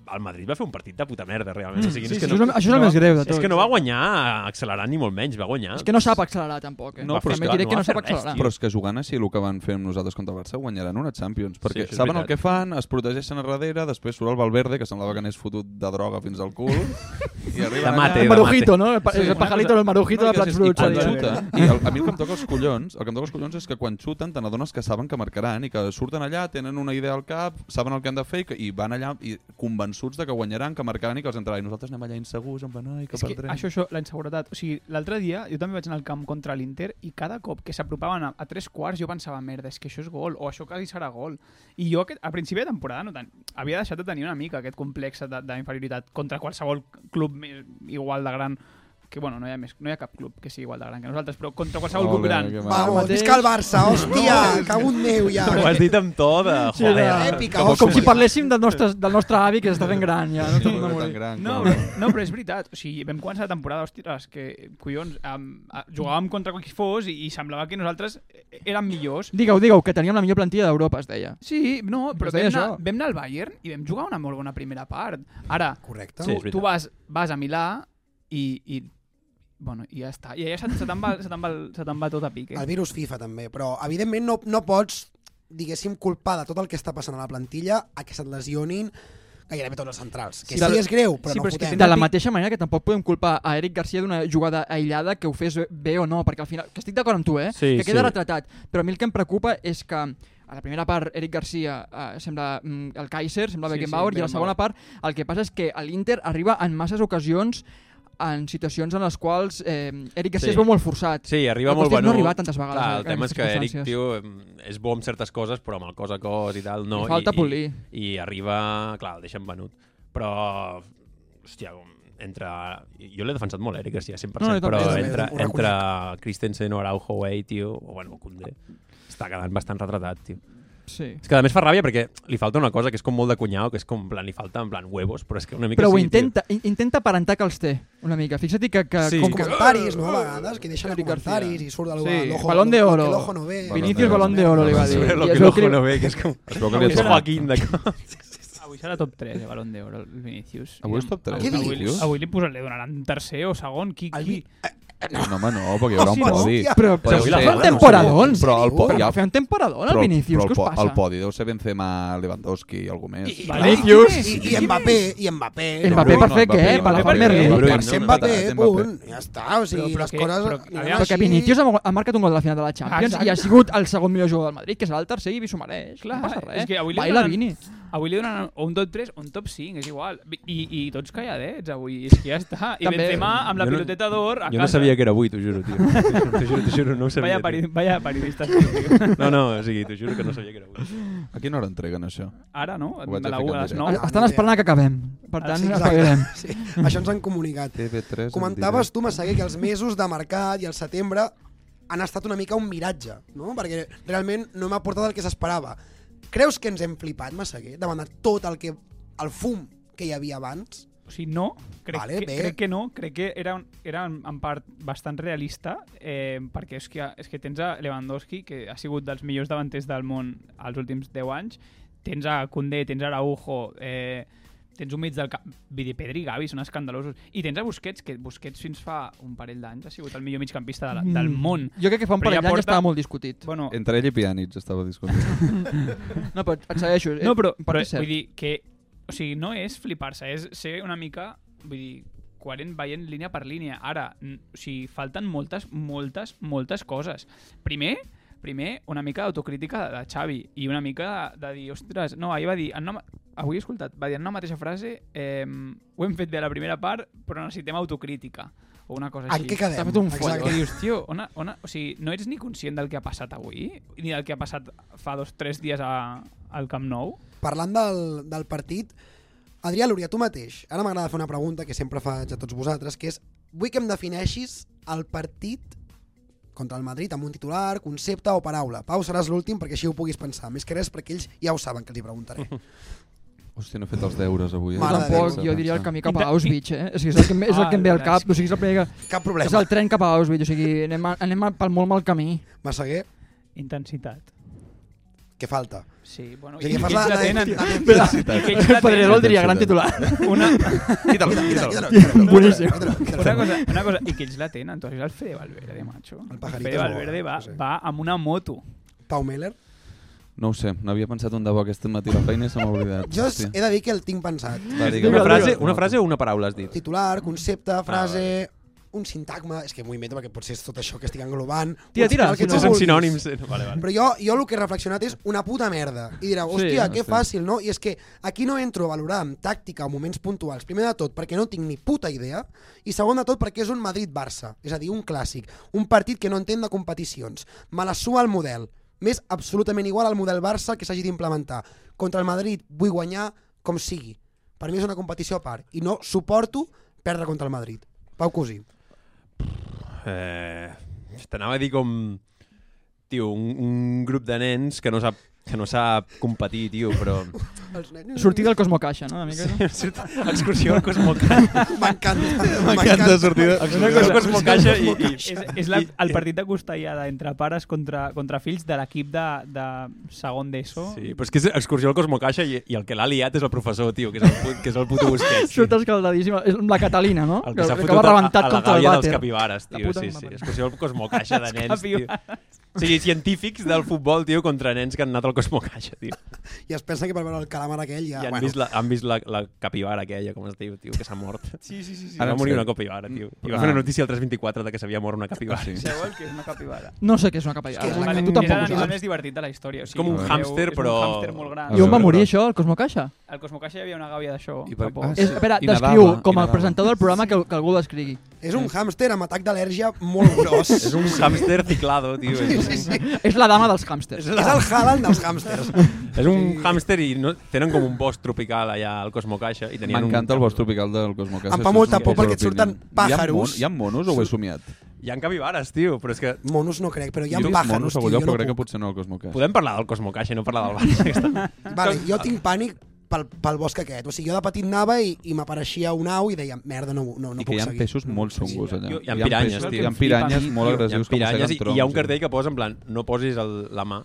D: el Madrid va fer un partit de puta merda, realment. O sigui,
C: Sí,
D: és,
C: sí,
D: que
C: això, és el,
D: no,
C: això és el
I: no,
C: més greu de tot.
D: és que no va guanyar accelerant ni molt menys, va guanyar.
C: És que no sap accelerar, tampoc. Eh?
D: No, però és
C: També
D: que
C: diré
D: no
C: que
D: va
C: no sap
D: fer res,
C: accelerar.
D: tio.
A: Però és que jugant així el que van fer amb nosaltres contra el Barça guanyaran una Champions, perquè
D: això
A: sí,
D: és
A: saben el
D: veritat.
A: que fan, es protegeixen a darrere, després surt el Valverde, que semblava que n'és fotut de droga fins al cul, i arriben
D: mate,
A: allà...
C: El
D: de
C: marujito, no? El, pa-
A: Sí,
C: el
A: una
C: pajarito, el marujito de
A: I
C: plats bruts.
A: quan
C: eh?
A: xuta, i el, a mi el que em toca els collons, el que em toca els collons és que quan xuten te n'adones que saben que marcaran i que surten allà, tenen una idea al cap, saben el que han de fer i, que, i van allà i convençuts de que guanyaran, que marcaran i que els entraran. I nosaltres anem allà insegurs, en plan, ai, que
I: és que
A: perdrem.
I: això, això, la inseguretat. O sigui, l'altre dia jo també vaig anar al camp contra l'Inter i cada cop que s'apropaven a, a tres quarts jo pensava, merda, és que això és gol, o això quasi serà gol. I jo aquest, a principi de temporada no ten... havia deixat de tenir una mica aquest complex de- d'inferioritat contra qualsevol club més igual de gran que bueno, no hi ha, més, no hi ha cap club que sigui igual de gran que nosaltres, però contra qualsevol club
A: Ole,
I: gran.
A: Oh, que
B: Vamos,
A: maco.
C: mateix.
B: visca el
C: [LAUGHS]
B: Barça, hòstia, cago en Déu ja.
D: Ho has dit amb to de...
C: Sí,
D: Joder,
C: era-
B: Èpica,
D: que vols
C: Com si
D: morir.
C: parléssim del nostre, del nostre avi que s'està fent gran, ja. No
A: Sí,
C: torna a
A: tan
C: morir.
A: gran,
I: No,
A: com-
I: però, no, però és veritat. O sigui, vam començar la temporada, ostres, que, collons, um, jugàvem contra qui fos i, i semblava que nosaltres eh, érem millors.
C: Digueu, digueu, que teníem la millor plantilla d'Europa, es deia.
I: Sí, no, però
C: Es
I: vam
C: deia
I: anar,
C: això.
I: vam anar al Bayern i vam jugar una molt bona primera part. Ara,
B: Correcte.
D: Sí,
I: tu,
D: és veritat.
I: tu vas, vas a Milà i, i bueno, i ja està. I allà se, se te'n va, se te'n va, se te'n va tot a pique.
B: El virus FIFA també, però evidentment no, no pots, diguéssim, culpar de tot el que està passant a la plantilla a que se't lesionin gairebé tots els centrals. Que
I: Sí,
B: sí,
I: però-
B: és greu, però
I: sí,
B: no
I: però és que
B: fotem.
C: De la
I: Pic-
C: mateixa manera que tampoc podem culpar a Eric Garcia d'una jugada aïllada que ho fes bé o no, perquè al final, que estic d'acord amb tu, eh?
D: Sí,
C: que queda
D: sí.
C: retratat, però a mi el que em preocupa és que a la primera part Eric Garcia eh, sembla mm, el Kaiser, sembla
I: Sí, sí,
C: sí, Beckenbauer, sí, i a la segona part el que passa és que a l'Inter arriba en masses ocasions en situacions en les quals eh, Eric
D: Sí.
C: Garcia sí. es veu molt forçat.
D: Sí, arriba
C: La
D: molt
C: qüestió és
D: venut.
C: no arribar tantes vegades eh,
D: Clar,
C: en-
D: el
C: en
D: tema és que
C: aquestes
D: Eric,
C: circumstàncies.
D: tio, em- és bo amb certes coses, però amb el cos a cos i tal, no.
C: Li falta
D: I,
C: polir.
D: I, I arriba... Clar, el deixen venut. Però, hòstia, entre... Jo l'he defensat molt, eh, Eric Garcia, 100%,
C: No, no, jo
D: però
B: també,
D: entre,
B: també, ho
D: entre Christensen o Araujo, Way, tio, o bueno, Koundé, està quedant bastant retratat, tio.
C: Sí.
D: És que a més fa ràbia perquè li falta una cosa que és com molt de cunyau, que és com, en plan, li falta en plan huevos, però és que una mica
C: Però ho
D: sí, tio.
C: intenta, in- intenta aparentar que els té, una mica. Fixa't que, que
D: Sí.
C: com
B: Com
C: que
B: comentaris, no? A vegades, que deixen
C: Eric
B: comentaris
C: Garcia.
B: i surt algú
C: Oh, Sí,
B: sí. l'ojo.
C: Balón de oro.
B: que L'ojo no ve.
C: Vinicius Balón de Oro li va dir.
D: Sobre lo
C: I es
D: que
C: veu
D: l'ojo
C: que li-
D: no ve, que és com...
A: Es veu que li
D: És
A: ha tocat.
D: Joaquín, de cop.
I: Avui serà top 3, el Balón d'Oro, el Vinícius.
A: Avui és top tres,
I: Avui,
B: Què
I: avui,
A: dius?
I: avui li, posaré, li donaran tercer o segon. Qui,
B: El
I: qui?
B: Vi-
A: No, home, no, perquè hi haurà un
I: Sí, no?
A: podi.
C: Però,
A: Però
C: però,
A: sí,
C: però,
A: bueno,
C: un
A: sí.
C: temporadon.
A: Però el po-
C: Però
A: ja-
C: va fer un temporadon
A: Però
C: al
A: el-
C: Vinícius,
A: però
C: què us
A: el po-
C: passa?
A: El podi deu ser Benzema, Lewandowski i algú més.
I: Vinícius!
B: Ah, I, I Mbappé, i Mbappé.
C: Mbappé eh,
A: Bruyne,
C: per fer
A: no,
C: què?
A: Mbappé,
C: Per la
A: Mbappé,
C: Premier
D: Mbappé,
C: League.
D: Mbappé.
B: Per ser Mbappé,
A: Mbappé,
B: punt. Ja està, o sigui,
I: Però- però
B: les
I: que-
B: coses...
I: però-
B: aniran
I: aviam,
C: Perquè
B: així.
C: Vinícius ha, ha marcat un gol de la final de la Champions
I: Exacte.
C: i ha sigut el segon millor jugador del Madrid, que serà el tercer i s'ho mereix.
I: Clar,
C: no passa res.
I: és que avui li
C: Baila
I: donen-
C: Vini.
I: Avui li donen o un top 3 o un top 5, és igual. I, i tots calladets avui, és que ja està. I
C: També.
I: Benzema amb la
D: Jo no-
I: piloteta d'or a
D: Jo no
I: casa.
D: sabia que era avui, t'ho juro, tio. t'ho juro, t'ho juro, no ho sabia.
I: Vaya,
D: tio.
I: peri vaya periodista. tio.
D: No, no, o sigui, t'ho juro que no sabia que era avui.
A: A quina hora entreguen això?
I: Ara, no?
A: Ho vaig
I: A la
A: a
I: u,
A: ficar
I: a les
A: en
I: 9.
B: directe.
C: Estan esperant que acabem. Per tant,
B: Sí,
C: sí,
B: exacte.
C: espavilem.
B: Sí, això ens
A: [LAUGHS]
B: han comunicat.
A: TV3 en
B: Comentaves
A: directe.
B: tu, Massaguer, que els mesos de mercat i el setembre han estat una mica un miratge, no? Perquè realment no m'ha portat el que s'esperava. Creus que ens hem flipat, Massaguer, davant de tot el que el fum que hi havia abans?
I: O sigui, no, crec,
B: Vale,
I: que,
B: bé.
I: crec que no, crec que era, un, era en, en part bastant realista, eh, perquè és que, és que tens a Lewandowski, que ha sigut dels millors davanters del món els últims 10 anys, tens a Koundé, tens a Araujo, eh, tens un mig del camp, Vidi Pedri i Gavi són escandalosos, i tens a Busquets, que Busquets fins fa un parell d'anys ha sigut el millor migcampista de, la-
C: Mm.
I: del món.
C: Jo crec que fa un
I: Però ja
C: parell d'anys
I: porta-
C: estava molt discutit.
I: Bueno,
A: Entre ell i Pjanic estava discutint.
B: [LAUGHS]
C: No, però et segueixo. eh,
I: No, però, però
C: és cert.
I: vull dir que... O sigui, no és flipar-se, és ser una mica... Vull dir, coherent veient línia per línia. Ara, n- o sigui, falten moltes, moltes, moltes coses. Primer, primer una mica d'autocrítica de, de Xavi i una mica de, de dir, ostres, no, ahir va dir, en una, ma- avui he escoltat, va dir en una mateixa frase eh, ho hem fet bé a la primera part, però necessitem autocrítica o una cosa així.
B: En què quedem?
C: T'ha fet un
B: Exacte.
I: Que dius, tio, on, on, o sigui, no ets ni conscient del que ha passat avui, ni del que ha passat fa dos, tres dies a, al Camp Nou?
B: Parlant del, del partit, Adrià Lúria, tu mateix, ara m'agrada fer una pregunta que sempre faig a tots vosaltres, que és, vull que em defineixis el partit contra el Madrid amb un titular, concepte o paraula. Pau, seràs l'últim perquè així ho puguis pensar. Més que res perquè ells ja ho saben que els hi preguntaré.
A: Hòstia, no he fet els deures avui. Eh?
B: Mare de Déu.
C: Tampoc, jo diria el camí cap
I: Inter-
C: a Auschwitz, eh? O sigui, és el que, em- és el que em ve al cap, o sigui, és el primer que...
B: Cap
C: És
B: problema.
C: el tren cap a Auschwitz, o sigui, anem, a, anem a, pel molt mal camí.
B: Massaguer,
I: Intensitat.
B: què falta?
I: Sí, bueno,
B: O sigui,
I: i
B: fas
I: que
B: la, la,
I: ells la
B: la,
I: tenen.
B: la, la, la,
I: I que ells la
C: Pedrerol
I: tenen.
C: diria gran titular.
I: Una,
A: Quítalo,
B: Quítalo,
A: quítalo.
B: quítalo, quítalo.
C: Boníssim.
B: Quítalo, quítalo.
I: una, cosa, una cosa, i que ells la tenen. Tu has vist el Fede Valverde, macho?
B: El pajarito
I: Fede
B: és bo,
I: Valverde va,
B: no sé.
I: va amb una moto.
B: Pau Meller.
A: No ho sé, n'havia pensat un de bo aquest matí a la feina i se m'ha oblidat.
B: Jo
A: Hòstia.
B: he de dir que el tinc pensat.
A: Va, digue'm.
D: Una frase, una frase o una paraula has dit?
B: Titular, concepte, frase, un sintagma, és que m'ho invento perquè potser és tot això que estic englobant.
C: Tira,
B: Un-
C: tira,
B: el que tu
C: si
D: Potser
C: no-
D: són
B: vulguis.
D: sinònims. Vale, vale.
B: Però jo, jo el que he reflexionat és una puta merda. I direu, hòstia,
A: no
B: que
A: sé.
B: fàcil, no? I és que aquí no entro a valorar amb tàctica o moments puntuals. Primer de tot, perquè no tinc ni puta idea. I segon de tot, perquè és un Madrid-Barça. És a dir, un clàssic. Un partit que no entén de competicions. Me la suma el model. M'és absolutament igual al model Barça que s'hagi d'implementar. Contra el Madrid vull guanyar com sigui. Per mi és una competició a part. I no suporto perdre contra el Madrid. Pau Cusí.
D: Eh, T'anava a dir com... Tio, un, un grup de nens que no sap, que no sap competir, tio, [LAUGHS] però...
B: Els nens...
C: [LAUGHS] Sortir del Cosmocaixa, no? Una mica, no?
D: Excursió al Cosmocaixa.
B: [LAUGHS] M'encanta.
A: M'encanta sortir de...
D: Excursió al Cosmocaixa i... i
I: És, és la, el partit de costellada entre pares contra, contra fills de l'equip de, de segon d'ESO.
D: Sí, però és que és excursió al Cosmocaixa i, i el que l'ha liat és el professor, tio, que és el, put, que és el puto Busquets.
C: Surt escaldadíssima. És la Catalina, no?
D: El que s'ha
C: va
D: fotut a,
C: rebentat
D: a la
C: contra el
D: gàbia dels
C: vàter.
D: capibares,
C: La
D: tio.
C: puta
D: Sí,
C: que
D: sí,
C: m'ha
D: excursió al Cosmocaixa de
I: Les
D: nens, tio.
I: capibares.
D: O sigui, científics del futbol, tio, contra nens que han anat al Cosmocaixa, tio.
B: I es pensa que per veure el calamar aquell
D: I
B: ja...
D: han
B: bueno,
D: vist, la, han vist la, la capibara aquella, com es diu, tio, que s'ha mort. Sí, sí,
B: Ah.
D: sí. sí.
A: Ara en
D: Ara va morir
A: sèrio.
D: una capibara, tio. I va
A: Ah.
D: fer una notícia al 324 de que s'havia mort una capibara.
A: Sí.
D: Sí.
I: Sabeu el que és una capibara?
C: No sé què és una capellada.
B: És que és la
C: Vale,
B: que-
C: tu
I: és
C: tampoc ho
I: l'animal
C: saps.
I: més divertit de la història. O sigui,
D: És com un
I: veu-
D: hàmster,
I: és
D: però-
I: un hàmster molt gran.
A: A
C: I on va
A: veure.
C: morir això, el Cosmocaixa?
I: Al Cosmocaixa hi havia una gàbia d'això.
A: I
I: fa
A: per-
I: poc.
A: ah, sí.
C: És, espera,
A: I
C: descriu
A: nedava, i
C: com a
A: nedava.
C: presentador del programa que, que algú ho descrigui.
B: És un hàmster amb atac d'al·lèrgia molt
A: [LAUGHS]
B: gros.
D: És un hàmster ciclado, tio.
B: Sí,
D: És,
B: sí, sí.
C: És la dama dels hàmsters.
B: És el Haaland dels hàmsters.
D: és un hàmster i no, tenen com un bosc tropical allà al Cosmocaixa. i tenien
A: M'encanta
D: un...
A: el bosc tropical del Cosmocasa.
B: Em fa molta por perquè et surten pàjaros.
A: Hi ha, mon hi ha monos o ho he somiat?
D: Hi ha capibares, tio, però és que...
B: Monos no crec, però hi ha
A: jo he vist
B: pàjaros,
A: monos a
B: tio,
A: Bolló,
B: jo no
A: però crec que
B: puc.
A: potser no al Cosmocasa.
D: Podem parlar del Cosmocaixa i no parlar del bar.
B: Vale, jo tinc pànic pel, pel bosc aquest. O sigui, jo de petit anava i, i m'apareixia un au i deia, merda, no, no, no
A: I que
B: puc
A: hi ha
B: seguir.
A: peixos molt songus allà.
D: Jo- hi ha piranyes,
A: peixos-
D: tio.
A: Hi ha piranyes
I: Flipa,
A: molt
D: Hi ha
I: tio.
A: agressius que
D: piranyes
A: mosseguen
D: i
A: troncs.
D: hi ha un cartell que posa en plan no posis el, la mà,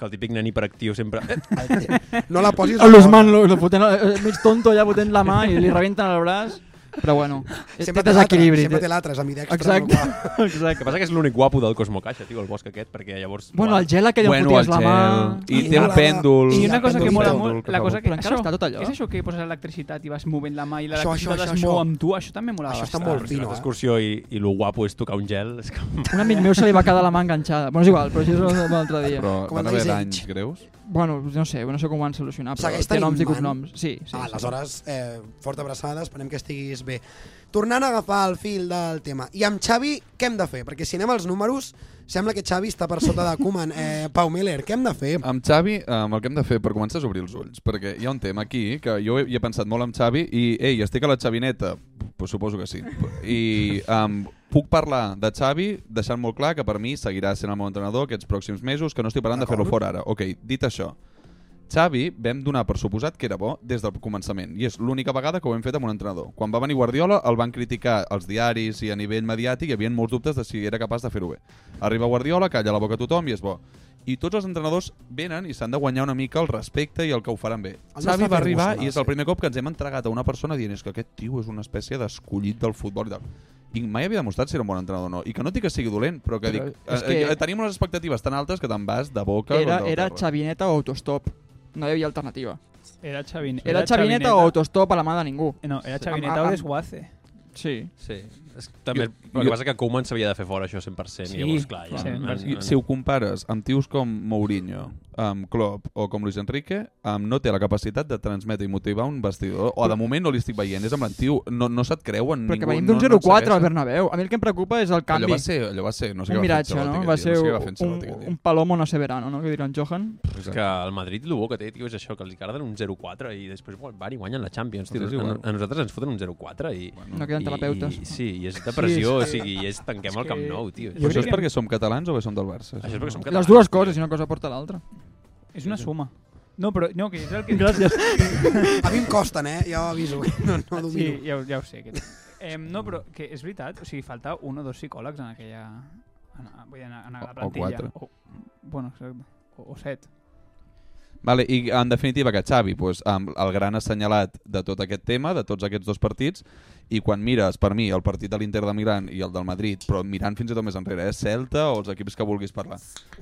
D: que el típic nen hiperactiu sempre... Eh,
B: No la
C: [LAUGHS]
B: posis...
C: El Luzman, lo, lo fotent, eh, mig tonto allà fotent la mà i li rebenten el braç. Però bueno,
B: Sempre
C: té
B: té l'altre,
C: desequilibri.
B: sempre té l'altre, és amidextre.
C: Exacte. [LAUGHS]
B: no cal.
D: El que passa que és l'únic guapo del Cosmocaixa, tio, el bosc aquest, perquè llavors...
C: Bueno, el gel aquell on
A: Bueno, el
C: foties la mà...
A: gel. I
B: I
A: té un
B: la-
A: pèndol.
I: I
B: I
I: una
B: la
I: cosa que mola
B: pendulita.
I: molt, la cosa que...
C: Però encara està tot allò.
I: És això que poses electricitat i vas movent la mà i
B: Això, això,
I: l'electricitat
B: això,
I: es mou
B: això.
I: amb tu, això també
A: Ah,
I: mola
B: Això està
I: bastant.
B: molt
D: Fino,
B: fino, eh?
D: excursió i, i lo guapo és tocar un gel. És
C: [LAUGHS]
D: com...
C: Un amic meu se li va quedar la mà enganxada. Bueno, és igual, però això és un altre dia.
A: Però
B: Com
A: van
B: el
A: haver
B: Disney.
A: danys greus?
C: Bueno, no sé, no sé com ho han solucionat, però
B: Segueix
C: té
B: tenint
C: noms i
B: man?
C: cognoms. Sí, sí.
B: Ah,
C: sí.
B: aleshores, eh, forta abraçada, esperem que estiguis bé. Tornant a agafar el fil del tema, i amb Xavi què hem de fer? Perquè si anem als números, sembla que Xavi està per sota de
C: [LAUGHS]
B: Koeman. Eh, Pau Miller, què hem de fer?
C: Ah.
A: Amb Xavi, eh, amb el que hem de fer per començar és obrir els ulls, perquè hi ha un tema aquí que jo he, hi he pensat molt amb Xavi i, ei, estic a la Xavineta, pues suposo que sí. I um, puc parlar de Xavi deixant molt clar que per mi seguirà sent el meu entrenador aquests pròxims mesos, que no estic parlant de fer-lo fora ara. Ok, dit això, Xavi vam donar per suposat que era bo des del començament i és l'única vegada que ho hem fet amb un entrenador. Quan va venir Guardiola el van criticar als diaris i a nivell mediàtic hi havia molts dubtes de si era capaç de fer-ho bé. Arriba Guardiola, calla la boca a tothom i és bo. I tots els entrenadors venen i s'han de guanyar una mica el respecte i el que ho faran bé.
B: El nostre
A: Xavi va arribar
B: Ferguson,
A: i és el
B: sí.
A: primer cop que ens hem entregat a una persona dient és que aquest tio és una espècie d'escollit del futbol i tal. I mai havia demostrat si era un bon entrenador o no. I que no dic que sigui dolent, però que
C: Però
A: dic...
C: és
A: eh,
C: que-
A: eh, tenim unes expectatives tan altes que te'n vas de boca...
C: Era,
A: contra el
C: era
A: terra.
C: xavineta o autostop. No hi havia alternativa.
I: Era Xavin.
C: Era xavineta o autostop a la mà de ningú.
I: No, era
D: Sí.
I: Xavineta
C: Amb-
I: o
C: amb-
I: desguace.
C: Sí.
D: Sí. És, també,
A: Jo-
D: jo, el que
A: jo-
D: passa que Koeman s'havia de fer fora això 100%.
I: Sí,
D: Sí, llavors, clar, ja,
I: sí.
D: en-
A: I
D: en-
A: si ho compares amb tios com Mourinho, amb Klopp o com Luis Enrique, um, no té la capacitat de transmetre i motivar un vestidor. O de moment no li estic veient, és amb l'antiu, no, no se't creuen
C: Però que
A: ningú.
C: venim d'un
A: no- no et
C: 0-4 al
A: segueixen.
C: Bernabéu. A mi el que em preocupa és el canvi.
A: Allò va ser, allò va ser, no sé què
C: un
A: va fer
C: miratge,
A: Ancelotti
C: no?
A: aquell
C: Va
A: dia,
C: ser
A: no sé què va fer
C: un,
A: Ancelotti aquell
C: un,
A: dia.
C: un palomo no sé verano, no? Que dirà en Johan.
D: És que el Madrid el bo que té, tio, és això, que els agraden un 0-4 i després bueno, van i guanyen la Champions. Tio,
A: És
D: a,
A: igual.
D: a nosaltres ens foten un 0-4 i... Bueno.
C: No queden terapeutes.
D: I, sí, i és depressió,
C: Sí,
D: o sigui, i és tanquem el Camp Nou, tio.
A: Però això
I: crec
A: és
I: que-
A: perquè som catalans o bé som del Barça?
D: Això és perquè som
C: Les
D: catalans,
C: dues
D: tio.
C: coses, i una cosa porta a l'altra.
I: És una suma. No, però no, que és el que...
C: Gràcies.
B: A mi em costen, eh? Ja ho aviso, [LAUGHS] no, no
I: Sí,
B: domino.
I: ja, ho- ja ho sé. [LAUGHS] Que... Eh, no, però que és veritat, o sigui, falta un o dos psicòlegs en aquella... En, vull dir, en, en la
A: O- o
I: plantilla.
A: quatre.
I: O, bueno, exacte. O, o set.
A: Vale, I en definitiva que Xavi, doncs, amb el gran assenyalat de tot aquest tema, de tots aquests dos partits, i quan mires, per mi, el partit de l'Inter de Milán i el del Madrid, però mirant fins i tot més enrere, eh, Celta o els equips que vulguis parlar.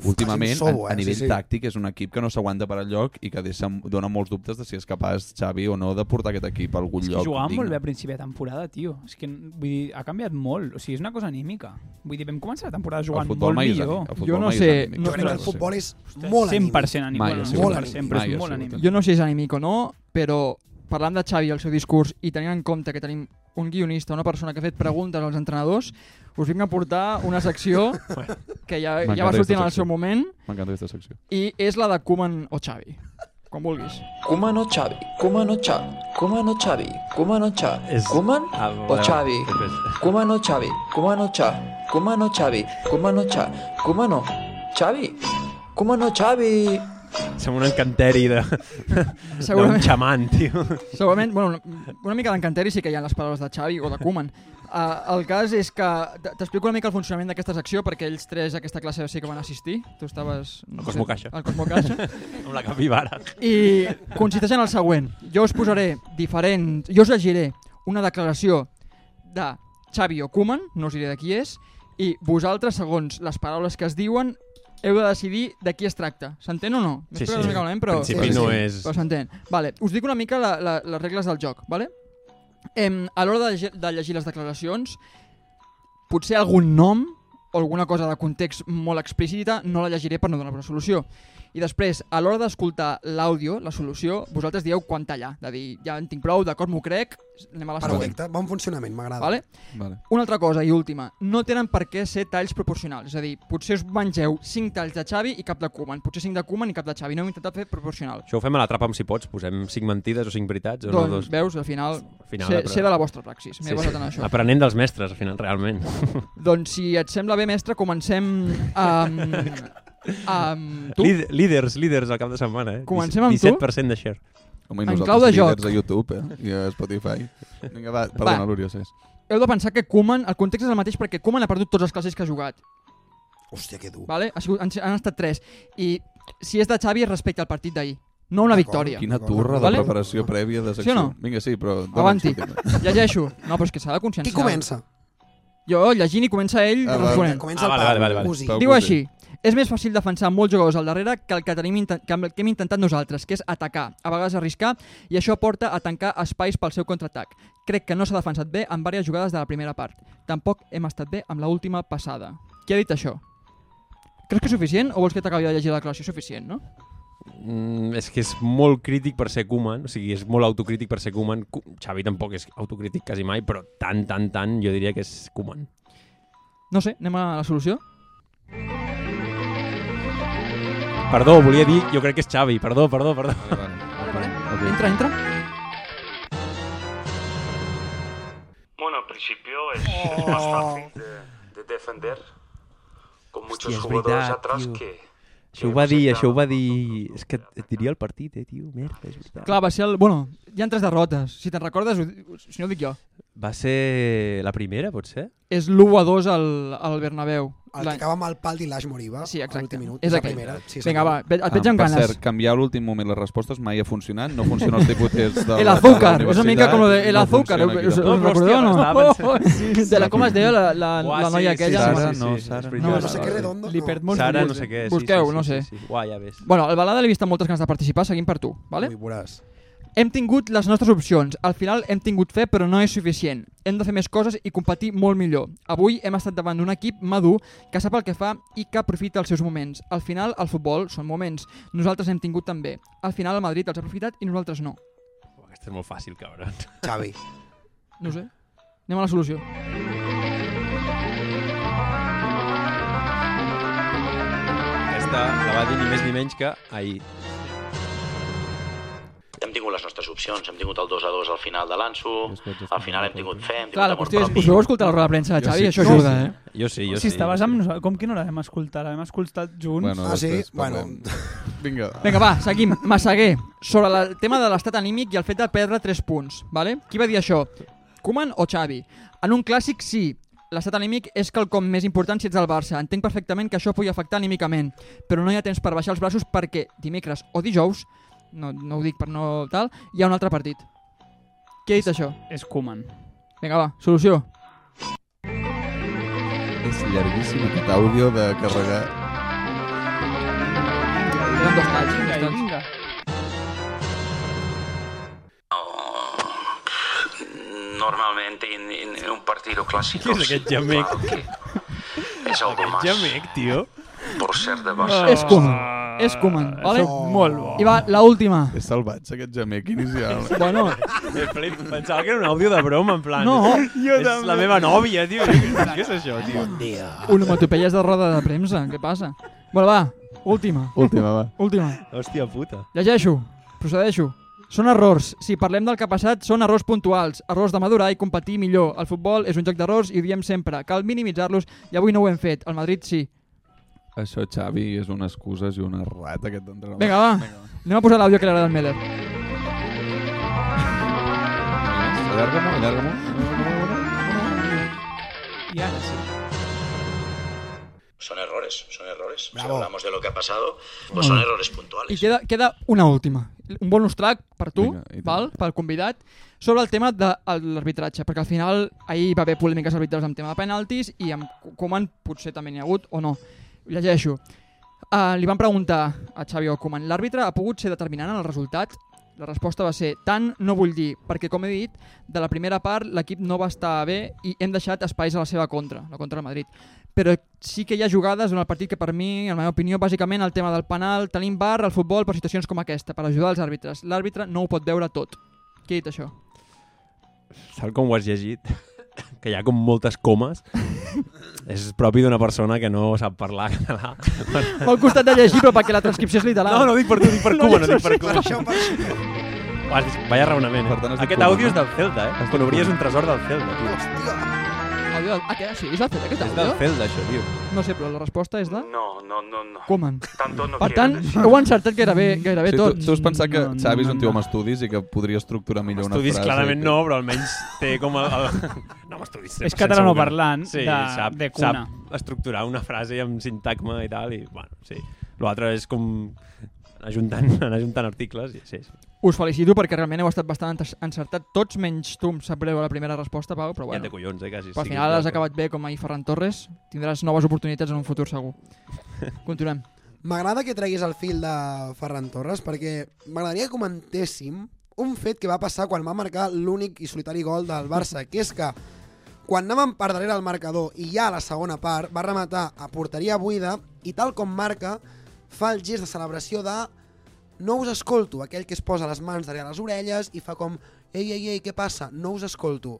A: Últimament,
B: quin sou,
A: a, a
B: eh?
A: nivell
B: Sí, sí.
A: tàctic, és un equip que no s'aguanta per enlloc i que deixa, dona molts dubtes de si és capaç Xavi o no de portar aquest equip a algun
I: És que
A: lloc
I: jugàvem molt
A: digne.
I: bé a principi de temporada, tio. És que, vull dir, ha canviat molt. O sigui, és una cosa anímica. Vull dir, vam començar la temporada jugant
A: el futbol
I: molt
A: mai és
I: millor.
A: anímic, el futbol
C: Jo no
A: mai és
C: sé,
A: anímic.
B: Jo
C: no-
B: crec que el
C: no
B: futbol és molt anímic.
I: 100% anímic.
A: Mai
I: Bueno,
A: ha
I: no,
A: sigut
I: molt
B: anímic.
I: anímic, però
A: Mai ha
I: és molt
A: sigut
I: anímic.
C: Jo no sé si és anímic o no, però parlant de Xavi, el seu discurs, i tenint en compte que tenim un guionista, una persona que ha fet preguntes als entrenadors, us vinc a portar una secció que ja, ja va
A: M'encanta
C: sortir en el
A: aquesta
C: seu moment,
A: M'encanta aquesta secció.
C: i és la de Koeman o Xavi, com vulguis.
J: Koeman o Xavi, Koeman o Xavi, Koeman o Xavi, Koeman o Xavi,
D: És-
J: Koeman
D: Ah,
J: o
D: vale,
J: Xavi,
D: després.
J: Koeman o Xavi, Koeman o Xavi, Coma no Xavi, coma no Xavi, coma no Xavi, coma no Xavi.
D: Sembla un encanteri
C: [LAUGHS]
D: de... d'un
A: Doncs
C: Segurament.
D: xaman, tio.
C: Segurament, bueno, una, una mica d'encanteri sí que hi ha en les paraules de Xavi o de Koeman. Uh, el cas és que... t- T'explico una mica el funcionament d'aquesta secció, perquè ells tres a aquesta classe sí que van assistir. Tu estaves...
D: Al Cosmo Caixa.
C: Al Cosmo Caixa.
D: Amb la capibara.
C: I consisteix en el següent. Jo us posaré diferents... Jo us llegiré una declaració de Xavi o Koeman, no us diré de qui és, i vosaltres, segons les paraules que es diuen, heu de decidir de qui es tracta. S'entén o no?
D: Sí,
C: M'he
D: sí.
C: explicat una mica malament, però...
D: En principi no és-
C: Però s'entén. Vale, us dic una mica la, la, les regles del joc, vale? Em, a l'hora de, llegir- de llegir les declaracions, potser algun nom o alguna cosa de context molt explícita no la llegiré per no donar una solució. I després, a l'hora d'escoltar l'àudio, la solució, vosaltres dieu quan tallar. De dir, ja en tinc prou, d'acord, m'ho crec, anem a la següent.
B: Perfecte, bon funcionament, m'agrada.
C: Vale?
A: Vale.
C: Una altra cosa, i última, no tenen per què ser talls proporcionals. És a dir, potser us mengeu 5 talls de Xavi i cap de Koeman, potser 5 de Koeman i cap de Xavi. No hem intentat fer proporcional.
D: Això ho fem a la trapa amb si pots, posem 5 mentides o 5 veritats. O
C: doncs,
D: no, dos...
C: veus, al final,
D: final,
C: sé,
D: apre-
C: sé de la vostra praxis. M'he basat en això.
D: Aprenent dels mestres, al final, realment.
C: Doncs si et sembla bé, mestre, comencem amb, amb tu.
D: Líd líders, líders al cap de setmana, eh?
C: Comencem amb tu?
D: 17% de share.
A: Home, i
C: En
A: nosaltres
C: clau de
A: líders
C: joc.
A: a YouTube eh? i a Spotify. Vinga, va, perdona, l'Oriol, sí.
C: Heu de pensar que Koeman, el context és el mateix perquè Koeman ha perdut tots els clàssics que ha jugat.
B: Hòstia, que dur.
C: Vale? Ha sigut, han, han estat tres. I si és de Xavi és respecte al partit d'ahir. No una victòria.
A: Quina turra de
C: Vale.
A: preparació prèvia de secció.
C: Sí o no?
A: Vinga, sí, però... dóna'ns
C: Avanti.
A: sortida.
C: Llegeixo. No, però és que s'ha de conscienciar.
B: Qui comença?
C: Jo, llegint i comença ell
A: Ah,
C: ah,
A: va.
C: responent.
B: Comença
D: Ah,
B: el
D: vale,
B: Pau,
D: vale, vale, vale.
B: Cusi.
A: Pau
C: Diu
A: Cusi.
C: així. És més fàcil defensar molts jugadors al darrere que el que, tenim inten- que el que hem intentat nosaltres, que és atacar, a vegades arriscar, i això porta a tancar espais pel seu contraatac. Crec que no s'ha defensat bé en diverses jugades de la primera part. Tampoc hem estat bé amb l'última passada. Qui ha dit això? Creus que és suficient o vols que t'acabi de llegir la declaració? És Suficient, no?
D: Mm, és que és molt crític per ser Koeman, o sigui, és molt autocrític per ser Koeman. Ko- Xavi tampoc és autocrític quasi mai, però tant, tant, tant, jo diria que és Koeman.
C: No sé, anem a la solució?
D: Perdó, volia dir, jo crec que és Xavi, perdó, perdó, perdó.
C: Entra, entra.
K: Bueno, al principio es, es más fácil de, de defender con muchos
D: Hostia, es
K: jugadores
D: verdad,
K: atrás
D: tío.
K: que...
D: Això ho va dir, això ho va dir... És que et diria el partit, eh, tio, merda, és veritat.
C: Clar, va ser el... Bueno, hi han tres derrotes. Si te'n recordes, ho di- si no ho dic jo.
D: Va ser la primera, potser?
C: És l'1-2 al, al Bernabéu.
B: El que
C: L'any-
B: acaba amb el pal d'Ilash Moriba.
C: Sí,
B: a
C: exacte.
B: Ah, l'últim minut.
C: És
B: la
C: aquell.
B: primera. Sí,
C: Vinga, va, ve- et veig
A: Ah,
C: amb
A: per
C: ganes.
A: cert, canviar a l'últim moment les respostes mai ha funcionat, no funciona el
C: [LAUGHS]
A: tipus test de...
C: El
A: la- de la
C: azúcar, és una mica
A: universitat,
C: com lo de el
A: no
C: azúcar, eh,
A: funciona aquí
C: us, us
A: tampoc.
D: hòstia,
C: recordeu o no?
D: estava pensant-
C: Oh, oh, [LAUGHS] de la, com es deia la, la,
D: Uah,
C: la noia
D: sí, sí,
C: aquella?
D: sí,
A: Sara,
D: sí,
A: no,
D: sí,
A: Sara,
D: és
A: no.
D: veritat.
B: No, no sé què redondo.
C: Li perd molt
D: Sara,
C: molt-
D: no sé què. sí,
C: Busqueu,
D: sí, sí,
C: no
D: sí,
C: sé.
D: Sí, sí. Uah, ja ves.
C: Bueno, el Balada l'he vist amb moltes ganes de participar, seguim per tu, vale?
B: Ui, veuràs.
C: Hem tingut les nostres opcions. Al final hem tingut fe, però no és suficient. Hem de fer més coses i competir molt millor. Avui hem estat davant d'un equip madur que sap el que fa i que aprofita els seus moments. Al final, el futbol són moments. Nosaltres hem tingut també. Al final, el Madrid els ha aprofitat i nosaltres no.
D: Uah, Aquesta és molt fàcil, cabron.
B: Xavi.
C: No ho sé. Anem a la solució.
D: Aquesta la va dir ni més ni menys que ahir.
K: Hem tingut les nostres opcions, hem tingut el 2 a 2 al final de l'Anso, al final hem tingut fe, hem
C: Clar, la qüestió és... Us vau escoltar la roda de premsa de
A: Jo
C: Xavi?
A: sí.
C: Això
A: No,
C: ajuda,
A: sí.
C: eh?
D: Jo sí, jo
I: si
D: sí.
I: estaves amb nosaltres, com que no l'hem escoltat? L'hem escoltat junts.
A: Bueno,
B: Ah, sí?
A: després
B: Bueno.
A: parlem. Vinga.
C: Vinga, va, seguim. Massaguer, sobre la- el tema de l'estat anímic i el fet de perdre 3 punts, vale? Qui va dir això? Koeman o Xavi? En un clàssic, sí. L'estat anímic és quelcom més important si ets del Barça. Entenc perfectament que això pugui afectar anímicament, però no hi ha temps per baixar els braços perquè dimecres o dijous, no, no ho dic per no tal, hi ha un altre partit. Qui ha dit això?
I: És Koeman.
C: Vinga, va, solució.
A: És llarguíssim aquest àudio de carregar.
C: Eren dos talls. Dos
I: Vinga, i
C: talls.
I: vinga.
K: Normalmente en, en un partido clásico...
D: Qui és aquest gemec?
K: Es algo más
D: Gemec, tio.
K: por ser de Barça.
C: És Koeman. És Koeman, vale?
I: Molt bo.
C: I va, la última.
A: És salvatge aquest gemec inicial.
C: Bueno,
D: Eh, Felip, Pensava que era un àudio de broma, en plan...
C: No,
D: [LAUGHS] jo és la meva nòvia, [LAUGHS] tio. Què és això, tio?
C: Onomatopeies de roda de premsa, què passa? Bueno, va, [LAUGHS] última,
A: Última, va.
C: última.
D: Hòstia puta.
C: Llegeixo, procedeixo. Són errors. Si parlem del que ha passat, són errors puntuals. Errors de madurar i competir millor. El futbol és un joc d'errors i ho diem sempre. Cal minimitzar-los i avui no ho hem fet. El Madrid sí.
A: Això, Xavi, és una excusa i una rata aquest entrenador.
C: Vinga, va. Anem a posar l'àudio que li agrada al Meller.
A: Allarga-m'ho, allarga-m'ho.
I: Y ahora sí.
L: Son errores, son errores. Si hablamos de lo que ha pasado, pues son errores puntuales.
C: I queda, queda una última. Un bonus track per tu, Vinga, val, pel convidat, sobre el tema de l'arbitratge, perquè al final ahir hi va haver polèmiques arbitrals amb tema de penaltis i amb Koeman potser també n'hi ha hagut o no. Llegeixo. Uh, li van preguntar a Xavi Koeman, l'àrbitre ha pogut ser determinant en el resultat? La resposta va ser, tant no vull dir, perquè com he dit, de la primera part l'equip no va estar bé i hem deixat espais a la seva contra, la contra del Madrid. Però sí que hi ha jugades en el partit que per mi, en la meva opinió, bàsicament el tema del penal, tenim bar, el futbol, per situacions com aquesta, per ajudar els àrbitres. L'àrbitre no ho pot veure tot. Qui ha dit
A: [LAUGHS]
C: això?
D: Tal com ho has llegit, [LAUGHS] que hi ha com moltes comes, és propi d'una persona que no sap parlar català.
C: M'ha costat de llegir, però perquè la transcripció és literal.
D: No, no, ho dic per tu, ho dic per Cuba, no, ho dic per Cuba.
B: això.
D: Vas, vaya raonament, eh?
A: Per tant, has dit
D: Aquest
A: Cuba,
D: àudio
A: no?
D: és del Celta, eh? Quan obries un tresor del Celta, tio.
C: Àudio, ah, que, sí, és del Celta, aquest
D: És del
C: àudio?
D: Celta, això, tio.
C: No sé, però la resposta és de...
K: No, no, no, no.
C: Koeman.
K: Tanto no
C: Per tant,
K: quieres.
C: heu encertat gairebé, gairebé
A: Sí, tu,
C: tots.
A: tu has pensat que Xavi és un tio amb estudis i que podria estructurar millor una frase.
D: Estudis clarament no, però almenys té com el... el... [LAUGHS] No, m'estudis sempre.
I: És catalanoparlant
D: segur que no.
I: de- de cuna.
D: Sap estructurar una frase amb sintagma i tal, i bueno, sí. L'altre és com anar juntant, [LAUGHS] anar juntant articles. I, sí, sí.
C: Us felicito perquè realment heu estat bastant entes- encertat tots menys tu, em sap greu la primera resposta, Pau, però bueno.
D: Ja té collons, eh, quasi.
C: Però al
D: Sí,
C: final
D: clar,
C: has
D: però-
C: acabat bé com ahir Ferran Torres, tindràs noves oportunitats en un futur
D: [LAUGHS]
C: segur. Continuem.
B: M'agrada que treguis el fil de Ferran Torres perquè m'agradaria que comentéssim un fet que va passar quan va marcar l'únic i solitari gol del Barça, que és que quan anaven per darrere el marcador i ja a la segona part va rematar a porteria buida i tal com marca fa el gest de celebració de no us escolto, aquell que es posa les mans darrere les orelles i fa com ei, ei, ei, què passa? No us escolto.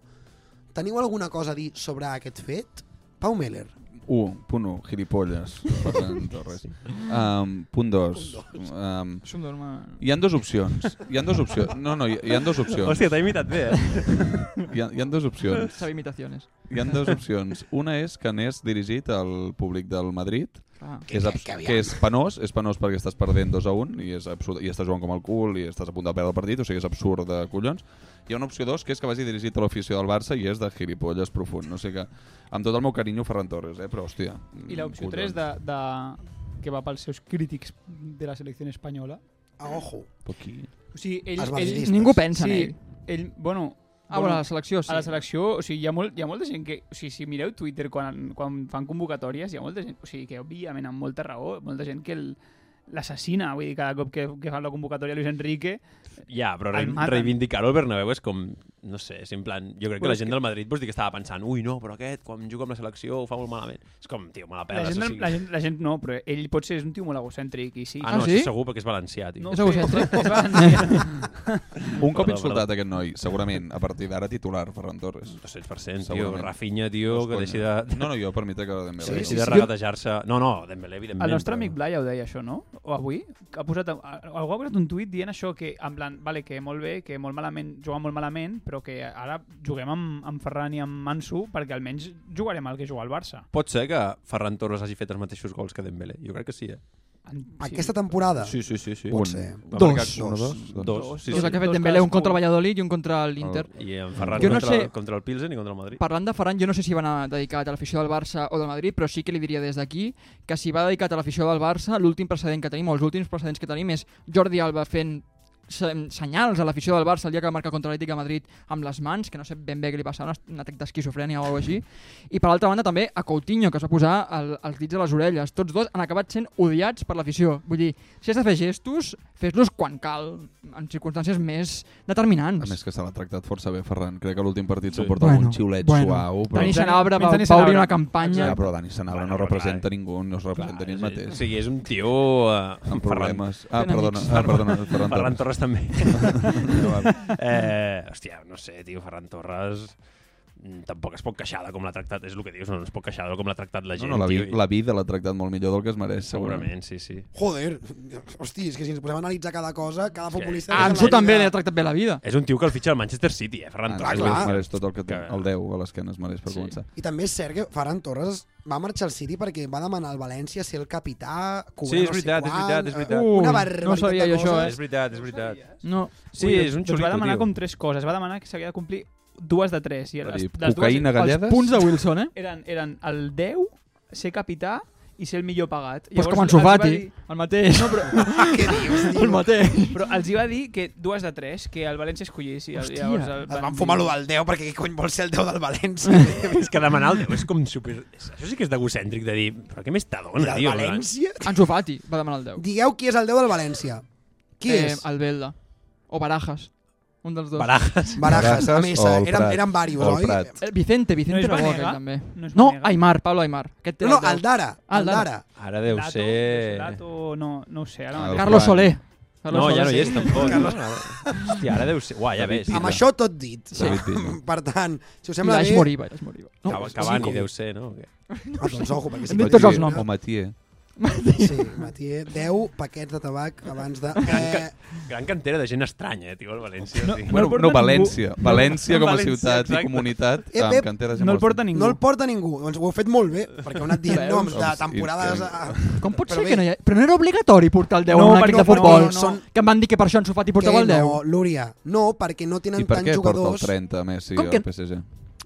B: Teniu alguna cosa a dir sobre aquest fet? Pau Meller.
A: 1.1, gilipolles. [LAUGHS] Ferran Torres. Um, punt 2. Um, hi han dues opcions. Hi han dues opcions. No, no, hi, hi han dues opcions.
D: Hòstia, t'ha imitat bé, eh?
A: Hi ha, hi han dues opcions.
C: Sabe imitaciones.
A: Hi han dues opcions. Una és que anés dirigit al públic del Madrid,
C: Ah.
A: que, és
C: Que-
A: abs-
C: que aviam.
A: que és penós, és penós perquè estàs perdent 2 a 1 i, és absurd, i estàs jugant com el cul i estàs a punt de perdre el partit, o sigui, és absurd de collons. Hi ha una opció 2, que és que vagi dirigit a l'afició del Barça i és de gilipolles profund. No sé que, amb tot el meu carinyo, Ferran Torres, eh? però hòstia... mm,
I: I l'opció 3 de, de, que va pels seus crítics de la selecció espanyola.
B: A ojo.
A: Poquí.
I: O sigui, ell,
C: Els
I: ell,
C: madridistes. Ningú pensa en
I: sí,
C: ell.
I: ell. bueno...
C: Ah, bueno, a la selecció, sí.
I: A la selecció, o sigui, hi ha, molt, hi ha molta gent que... O sigui, si mireu Twitter quan, quan fan convocatòries, hi ha molta gent... O sigui, que òbviament amb molta raó, molta gent que el- l'assassina, vull dir, cada cop que, que fan la convocatòria Luis Enrique...
D: [LAUGHS] Ja, però
I: el
D: re
I: maten.
D: reivindicar-ho al Bernabéu és com... No sé, és en plan... Jo crec que
I: Però
D: la
I: és
D: gent
I: que-
D: del Madrid vols dir que estava pensant ui, no, però aquest, quan juga amb la selecció, ho fa molt malament. És com, tio, me la
I: La
D: peles.
I: gent,
D: o
I: del-
D: sigui...
I: la, gent, la gent no, però ell potser és un tio molt egocèntric i sí.
D: Ah, no, sí? segur, perquè és valencià, tio.
I: No,
D: És
I: sí,
D: egocèntric.
I: és valencià.
A: Un cop
D: Perdó,
A: insultat
D: perdó.
A: aquest noi, segurament, a partir d'ara titular, Ferran Torres.
D: 200%, tio.
A: Segurament.
D: Rafinha, tio, que deixi de...
A: No, no, jo per mi té que de Dembélé.
D: Sí, deixi de regatejar-se... No, no, Dembélé, evidentment.
I: El nostre
D: però-
I: amic Blai ja ho deia, això, no? O avui? Que ha posat, algú ha posat un tuit dient això, que en plan, vale, que molt bé, que molt malament, juga molt malament, però que ara juguem amb, amb Ferran i amb Mansu perquè almenys jugarem el que juga el Barça.
D: Pot ser que Ferran Torres hagi fet els mateixos gols que Dembélé. Jo crec que sí, eh?
B: Aquesta temporada?
D: Sí, sí, sí. sí.
B: Pot
D: Un.
B: ser.
D: Va
B: Dos.
D: marcar
B: Dos.
D: Un, dos,
B: Dos.
A: Doncs
D: dos.
B: Dos.
D: Sí,
C: és el
D: sí.
C: que ha fet Dembélé, un contra el Valladolid i un contra l'Inter.
D: I en Ferran
C: Jo no
D: contra,
C: sé-
D: contra el Pilsen i contra el Madrid.
C: Parlant de Ferran, jo no sé si va anar dedicat a l'afició del Barça o del Madrid, però sí que li diria des d'aquí que si va dedicat a l'afició del Barça, l'últim precedent que tenim, o els últims precedents que tenim, és Jordi Alba fent se- senyals a l'afició del Barça el dia que va marcar contra l'Atlètic de Madrid amb les mans, que no sé ben bé què li passava, un, un atac d'esquizofrènia o alguna així. I per altra banda també a Coutinho, que es va posar el, els dits a les orelles. Tots dos han acabat sent odiats per l'afició. Vull dir, si has de fer gestos, fes-los quan cal, en circumstàncies més determinants.
A: A més que se l'ha tractat força bé, Ferran. Crec que l'últim partit s'ho
D: Sí.
A: porta
C: Bueno,
A: un xiulet
C: bueno.
A: suau. Però...
C: Dani Sanabra va-
A: Menys
C: va obrir
A: Sanabra.
C: una campanya.
A: Ja, però Dani Sanabra no
D: eh.
A: representa ningú, no es representa ni ell
D: O
A: mateix.
D: sigui, és un tio... Eh,
A: Amb problemes. Ah,
D: Ferran-
A: perdona, ah, perdona, Ferran
D: Ferran
A: [LAUGHS] Torres.
D: Torres també.
A: [LAUGHS] No, va.
D: eh, hòstia, no sé, tio, Ferran Torres... mm, tampoc es pot queixar de com l'ha tractat, és el que dius, no es pot queixar de com l'ha tractat la gent.
A: No, no, la, vi,
D: tio, i-
A: la vida l'ha tractat molt millor del que es mereix,
D: Segurament, sí, sí.
B: Joder, hosti, és que si ens posem a analitzar cada cosa, cada futbolista...
C: Ah, Ansu també l'ha tractat bé la vida.
D: És un tio que el fitxa al Manchester City, eh, Ferran
A: Ah,
D: Torres.
A: clar.
D: vull dir-
A: Mereix tot el que, té, el 10 a l'esquena es mereix per sí. començar.
B: I també és cert que Ferran Torres va marxar al City perquè va demanar al València ser el capità, cobrar
D: Sí, és
B: no sé
D: veritat, és
B: quant,
D: veritat, és veritat.
B: eh, Una
D: Ui,
B: barbaritat
D: no sabia
B: de
D: jo
B: coses.
D: això, eh? És veritat, és veritat.
C: No.
D: Sí,
I: Ui,
D: és un
I: doncs va
D: xulito,
I: demanar
D: tio.
I: com tres coses. Va demanar que s'havia de complir dues de tres. I
A: Va
I: les,
A: dir,
I: les
A: cocaïna,
I: dues,
A: galledes?
I: Els punts
C: de Wilson, eh?
I: Eren, eren el 10, ser capità i ser el millor pagat.
C: Pues com en
I: els va
C: Sufati,
I: dir-
C: el mateix.
I: No, però...
C: Què dius, tio? El mateix.
I: Però els hi va dir que dues de tres, que el València escollís. I el-
C: Hòstia.
I: llavors
B: Es van fumar
I: dir-
B: lo del 10 perquè qui cony vol ser el 10 del València?
D: [LAUGHS] és que demanar el 10 és com super... Això sí que és d'egocèntric de dir, però què més t'adona,
B: del
D: tio?
B: València?
D: eh.
C: Ansu Fati va demanar el 10.
B: Digueu qui és el 10 del València. Qui
C: eh,
B: és?
C: El Belda. O Barajas. Un dels dos.
D: Barajas.
B: Barajas, a mesa. Eren, eren varios, oi?
C: Eh, Vicente, Vicente
I: No és
C: era bo
I: Vanega?
C: aquell, també.
I: No és
C: No,
I: Vanega?
C: Aymar, Pablo Aymar. Aquest era
B: No, no,
C: el 10.
B: Aldara,
C: Ah,
B: Aldara.
D: Ara deu
I: Lato,
D: ser...
I: Lato, no, no ho sé.
A: Ah,
I: Ara
D: El
I: mateix.
D: Carlos Fran. Soler. Carlos No, Soler, ja no hi és, sí. tampoc. Carlos- Hòstia, ara deu ser... Uà, ja ves.
B: Amb això tot dit.
D: Sí. David Villa.
B: per tant, si us
C: I
B: sembla
C: l'Aix
B: bé...
C: Moriba, l'Aix Moriba.
D: No, Cava- Cavani deu ser, no?
B: Ah, doncs ojo, perquè...
C: Hem dit tots els noms.
A: O Matier.
B: Sí, Matier, 10 paquets de tabac abans de...
D: Gran,
B: Eh,
D: ca gran cantera de gent estranya, eh, tio, el València. No,
A: Bueno, no, València. València com a ciutat i comunitat,
B: Ep,
A: amb
B: ep.
A: cantera
B: No el porta ningú. Doncs ho heu fet molt bé, perquè heu anat dient
C: Veus?
B: noms de eh,
A: Doncs, i-
B: temporades... A...
C: Com pot
B: Però
C: ser
B: bé,
C: que no hi ha... Però no era obligatori portar el 10
B: No,
C: no, en un
B: perquè
C: equip de
B: no,
C: futbol.
B: perquè no, no.
C: Que em van dir que per això Ansu Fati portava
B: que
C: el 10.
B: No, Lúria, no, perquè no tenen
A: I per
B: tants
A: què porta el
B: jugadors...
A: 30 Messi
B: Com
A: al
B: que-
A: PSG?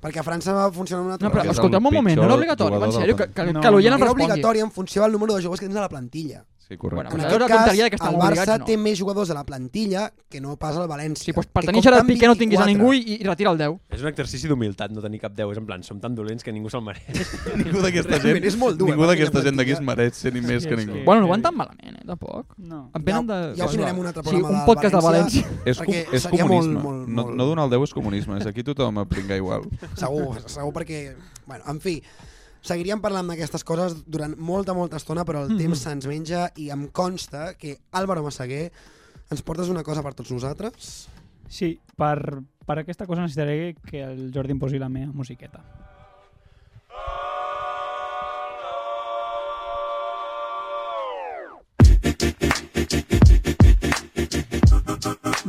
B: Perquè a França va funcionar una altra
C: No, però
A: Perquè és
C: escolta'm
A: el
C: un moment, no era
A: pitjor
C: obligatori, va en
A: jugador
C: sèrio,
A: del
C: que, que,
B: No,
C: que l'oient
B: no,
C: el
B: era
C: respongui.
B: obligatori en funció del número de jugadors que tens a la plantilla.
A: Sí, correcte.
B: en
C: Bueno,
B: aquest
C: era una
B: cas,
C: tonteria que
B: el
C: estàvem
B: Barça
C: obligats, no.
B: té més jugadors a la plantilla que no pas el València. Sí, doncs
C: Per tenir Gerard Piqué no tinguis a ningú i, i retira el 10.
D: És un exercici d'humilitat no tenir cap 10. És en plan, som tan dolents que ningú se'l mereix.
A: Ningú d'aquesta gent, ningú d'aquesta gent d'aquí es mereix ser ni més
D: Sí,
A: que
D: sí.
A: ningú.
C: Bueno, no van tan malament, eh, tampoc.
I: No.
C: Em venen de...
B: Ja opinarem un altre
C: doncs sí,
B: programa
C: un
B: de
C: podcast de València.
A: És, com,
B: perquè
A: és
B: seria
A: comunisme.
B: molt, molt,
A: no,
B: molt-
A: no donar el 10 és comunisme. És aquí tothom a pringar igual.
B: Segur, segur perquè... Bueno, en fi, seguiríem parlant d'aquestes coses durant molta, molta estona, però el
C: Mhm.
B: temps se'ns menja i em consta que Álvaro Massaguer ens portes una cosa per tots nosaltres.
I: Sí, per, per aquesta cosa necessitaré que el Jordi em posi la meva musiqueta.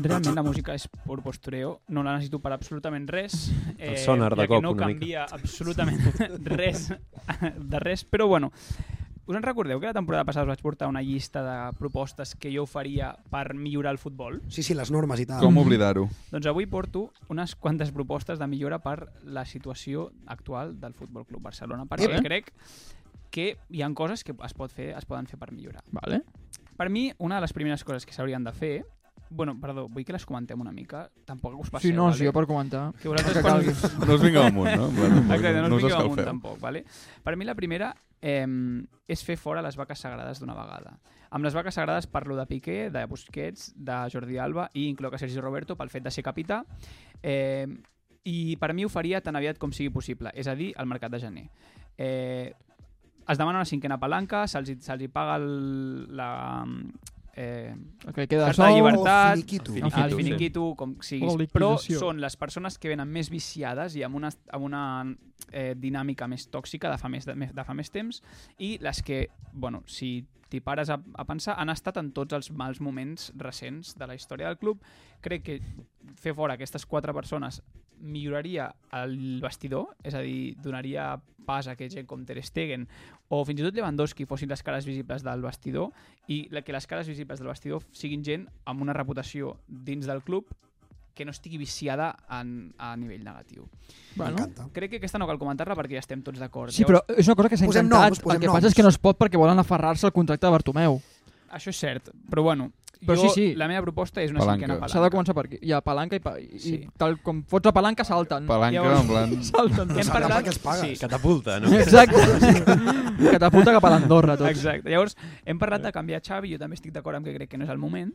I: Realment la música és pur postureo, no la necessito per absolutament res, Eh,
D: El sonar de
I: ja
D: cop,
I: que no
D: una mica.
I: canvia absolutament [LAUGHS] res de res, però bueno, us en recordeu que la temporada passada us vaig portar una llista de propostes que jo faria per millorar el futbol?
B: Sí, sí, les normes i tal. Oh,
A: Com oblidar-ho?
I: Doncs avui porto unes quantes propostes de millora per la situació actual del Futbol Club Barcelona, perquè
C: Epa.
I: crec que hi han coses que es, pot fer, es poden fer per millorar.
C: Vale.
I: Per mi, una de les primeres coses que s'haurien de fer... Bueno, perdó, vull que les comentem una mica. Tampoc us passeu,
C: Sí, no,
I: vale?
C: sí, jo per comentar.
I: Que vosaltres
C: El que
I: quan-
C: calgui.
A: No us vingueu amunt, no? Bueno,
I: Exacte, no,
A: no
I: us
A: us
I: vingueu amunt
A: escalfeu.
I: tampoc, vale? Per mi la primera eh, és fer fora les vaques sagrades d'una vegada. Amb les vaques sagrades parlo de Piqué, de Busquets, de Jordi Alba i incloc a Sergi Roberto pel fet de ser capità. Eh, I per mi ho faria tan aviat com sigui possible, és a dir, al mercat de gener. Eh, es demana una cinquena palanca, se'ls hi- se'ls hi paga el, la... Eh,
C: El que queda de
I: carta de
C: sou.
I: llibertat,
C: El finiquito.
I: el
C: El
I: finiquito,
C: finiquito, sí.
I: com
C: O
I: siguis,
C: la
I: però
C: liquidació.
I: són les persones que venen més viciades i amb una, amb una eh, dinàmica més tòxica de fa més, de, de fa més temps i les que, bueno, si t'hi pares a, a pensar, han estat en tots els mals moments recents de la història del club. Crec que fer fora aquestes quatre persones milloraria el vestidor, és a dir, donaria pas a que gent com Ter Stegen o fins i tot Lewandowski fossin les cares visibles del vestidor i la- que les cares visibles del vestidor siguin gent amb una reputació dins del club que no estigui viciada en, a nivell negatiu.
C: Bueno. M'encanta.
I: Crec que aquesta no cal comentar-la perquè ja estem tots d'acord.
C: Sí, però és una cosa que s'ha
I: Posem
C: intentat.
I: noms, posem
C: el que
I: noms.
C: passa és que no es pot perquè volen aferrar-se al contracte de Bartomeu.
I: Això és cert, però bueno,
C: Però
I: jo,
C: sí, sí.
I: la meva proposta és una cinquena palanca.
C: S'ha de començar per aquí. Hi ha palanca i, pa i, sí. i tal com fots la palanca salten.
A: Palanca,
I: Llavors-
A: en plan-
C: salten. [LAUGHS]
I: Hem
C: tots.
I: parlat- Sí.
D: Catapulta, no?
C: Exacte. Catapulta cap a l'Andorra, tots.
I: Exacte. Llavors, hem parlat de canviar Xavi, jo també estic d'acord amb que crec que no és el moment.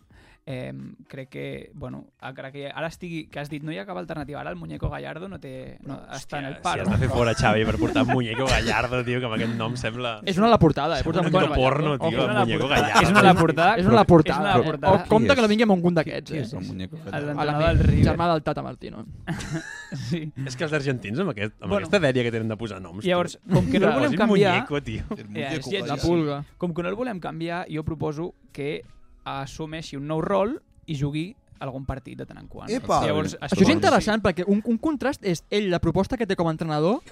I: Eh, crec que, bueno, encara que ara estigui, que has dit no hi ha cap alternativa, ara el Muñeco Gallardo no té, no, està en el
D: Si
I: paro.
D: has de fer fora Xavi per portar un muñeco gallardo, tio, que amb aquest nom sembla...
C: És una a la portada, eh? Porta
D: Sembla
C: Muñeco
D: un porno,
C: Gallardo.
D: tio,
C: Ojo,
D: el
C: és una a
D: muñeco
C: la portada.
D: gallardo.
C: És una a la portada. És una a la portada.
A: Però,
I: portar.
C: O compte que la vingui amb algun d'aquests,
A: Qui
C: eh?
A: és el muñeco aquest?
C: A
I: L'entrenador
C: l'amic,
I: del River.
C: Germà del Tata Martino.
I: sí.
D: És que els argentins, amb, aquest, amb
I: Bueno.
D: bueno. aquesta dèria que tenen de posar noms... tio.
I: Llavors, com que no el volem
D: Posin
I: canviar...
D: Muñeco, tio.
I: Ja, és lletja.
C: La pulga.
I: Com que no el volem canviar, jo proposo que assumeixi un nou rol i jugui algun partit de tant en quant.
B: Epa!
I: Llavors,
C: Això és interessant perquè un, un contrast és ell, la proposta que té com a entrenador,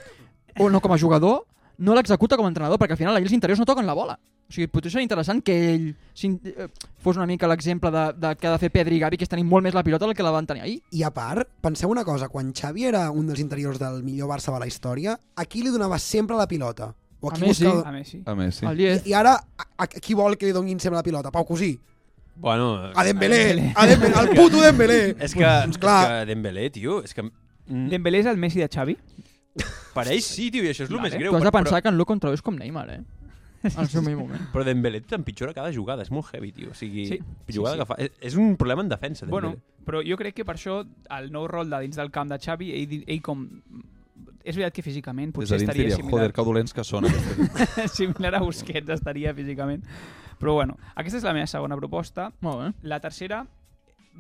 C: o no com a jugador, no l'executa com a entrenador, perquè al final allà els interiors no toquen la bola. O sigui, potser seria interessant que ell s'in- eh, fos una mica l'exemple de, de que ha de fer Pedri i Gavi, que és tenir molt més la pilota del que la van tenir ahir.
B: I a part, penseu una cosa, quan Xavi era un dels interiors del millor Barça de la història, a qui li donava sempre la pilota? O
I: A
B: qui
I: Messi.
B: buscava-
I: A Messi.
A: A Messi.
C: El
B: I,
C: 10.
B: I ara, a, a, qui vol que li donguin sempre la pilota? Pau Cosí.
D: Bueno,
B: A Dembélé, a Dembélé, al puto Dembélé.
D: [LAUGHS] És que,
B: Doncs
D: és
B: clar.
D: que Dembélé, tio, és que... mm,
I: Dembélé és el Messi de Xavi?
D: Per ells sí, tio, i això és el
C: Vale.
D: més greu.
C: Tu has de
D: però-
C: pensar que en Luco Contrao és com Neymar, eh? Al seu
A: [LAUGHS]
C: millor moment.
D: Però Dembélé t'empitjora cada jugada, és molt heavy, tio. O sigui,
I: Sí,
D: sí,
I: sí,
D: jugada sí,
I: sí.
D: que fa... és- És un problema en defensa, Dembélé.
I: Bueno, però jo crec que per això el nou rol de dins del camp de Xavi, ell, di- ell com... És veritat que
A: Des
I: físicament
A: de
I: potser
A: dins
I: estaria
A: diria,
I: similar.
A: joder, que dolents que són. aquests".
I: [LAUGHS] similar a Busquets estaria físicament. Però bueno, aquesta és la meva segona proposta.
C: Molt bé.
I: La tercera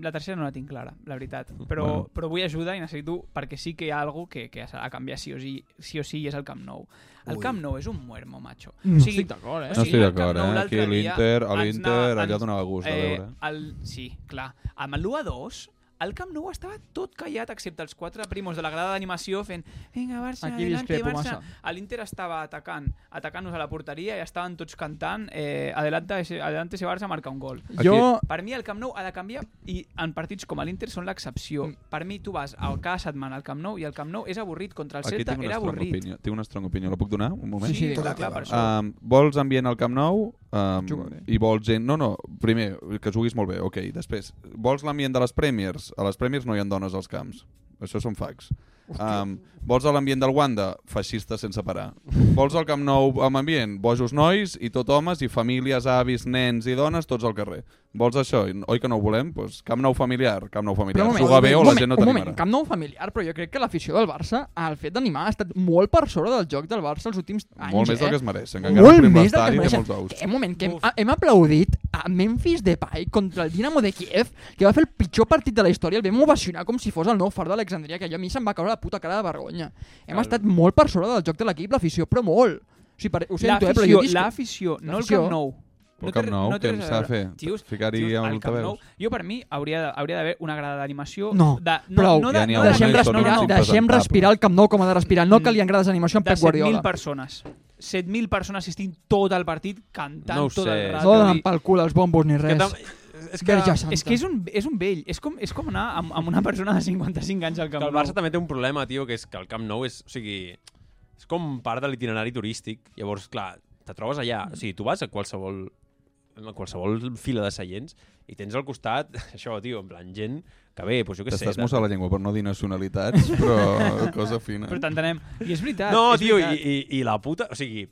I: la tercera no la tinc clara, la veritat. Però, bueno.
A: Bueno.
I: però vull ajuda i necessito... Perquè sí que hi ha algo que, que s'ha de canviar sí o sí, sí o sí i és el Camp Nou. El
B: Ui.
I: Camp Nou és un muermo, macho.
C: No estic d'acord, eh?
A: No estic
I: el Camp
A: d'acord,
I: Nou
A: eh?
I: l'altre
A: Aquí
I: dia
A: l'Inter- a
I: ens
A: l'Inter allà
I: anava- ens-
A: donava gust de veure.
I: El, eh, sí, clar. Amb l'1-2, el Camp Nou estava tot callat, excepte els quatre primos de la grada d'animació fent vinga, Barça,
C: Aquí
I: adelante,
C: discrepo
I: Barça.
C: massa.
I: A L'Inter estava atacant, atacant-nos a la porteria i estaven tots cantant eh, adelante, ese- adelante ese Barça marca un gol.
C: Jo,
I: Per mi el Camp Nou ha de canviar i en partits com l'Inter són l'excepció.
A: Mm.
I: Per mi tu vas a cada setmana al Camp Nou i el Camp Nou és avorrit contra el
A: Aquí
I: Celta,
A: tinc una
I: era
A: strong
I: avorrit.
A: opinió. Tinc una strong opinió. La puc donar un moment?
C: Sí, sí,
I: clar,
B: digue'm.
I: clar, per això.
A: Um, vols ambient al Camp Nou um,
C: Juga bé.
A: i vols gent... No, no, primer, que juguis molt bé, ok. Després, vols l'ambient de les Premiers? A les Premiers no hi ha dones als camps. Això són facts. Um, vols a l'ambient del Wanda? Feixistes sense parar. Vols al Camp Nou amb ambient? Bojos nois i tot homes i famílies, avis, nens i dones, tots al carrer. Vols això? I- Oi que no ho volem? Pues, camp Nou familiar, Camp Nou familiar.
C: Però un moment,
A: Juga bé o
C: un
A: la
C: moment,
A: gent no
C: un moment,
A: t'animarà.
C: Camp nou familiar, però jo crec que l'afició del Barça, el fet d'animar, ha estat molt per sobre del joc del Barça els últims anys.
A: Molt més
C: eh?
A: del que es mereixen, que encara
C: Molt
A: omplim
C: més del que es
A: l'estadi i
C: Eh,
A: té
C: mereixen.
A: molts ous.
C: Que, un moment, que hem, ah, hem aplaudit a Memphis Depay contra el Dinamo de Kiev, que va fer el pitjor partit de la història, el vam ovacionar com si fos el nou far d'Alexandria, que allò a mi se'm va caure la puta cara de vergonya. Hem estat molt per sobre del joc de l'equip, l'afició, però molt. O sigui, per, ho sento, eh, però
I: L'afició,
C: jo disc...
I: l'afició, no el
C: L'afició.
I: Camp Nou.
A: Però
I: té
A: Camp
I: re-
A: Nou,
I: té
A: què
I: res a
A: s'ha de
I: veure.
A: fer?
I: Tios,
A: Ficar-hi
I: tios,
A: amb
I: al Camp Nou.
A: altaveus?
I: Jo, per mi, hauria de- hauria d'haver una grada d'animació...
C: No,
I: de, no,
C: prou.
I: No, de,
A: Ja n'hi ha
I: no, de-
C: Deixem
A: una,
I: no, de-
C: respirar,
I: no, no,
C: deixem respirar el Camp Nou com ha de respirar, no que li agrades animació en
I: de
C: Pep
I: 7.000
C: Guardiola.
I: persones. 7.000 persones assistint tot el partit cantant
D: No ho
I: tot el
D: sé.
C: No
I: rato.
C: donen pel cul els bombos ni
D: És que
C: res.
D: tam- és que,
C: Verge
I: És
C: Santa.
I: que és un, és un vell, és com, és com anar amb, amb una persona de 55 anys al
D: que
I: Camp
D: el Barça també té un problema, tio, que és que el Camp Nou és, o sigui, és com part de l'itinerari turístic. Llavors, clar, te trobes allà. O sigui, tu vas a qualsevol a qualsevol fila de seients i tens al costat [LAUGHS] això, tio, en plan gent que ve, doncs jo què sé.
A: T'estàs
D: de-
A: mossant la llengua per no dir nacionalitats, però cosa fina.
I: Però t'entenem. I és veritat.
D: No,
I: és
D: tio, i,
I: veritat.
D: i, i la puta... O sigui,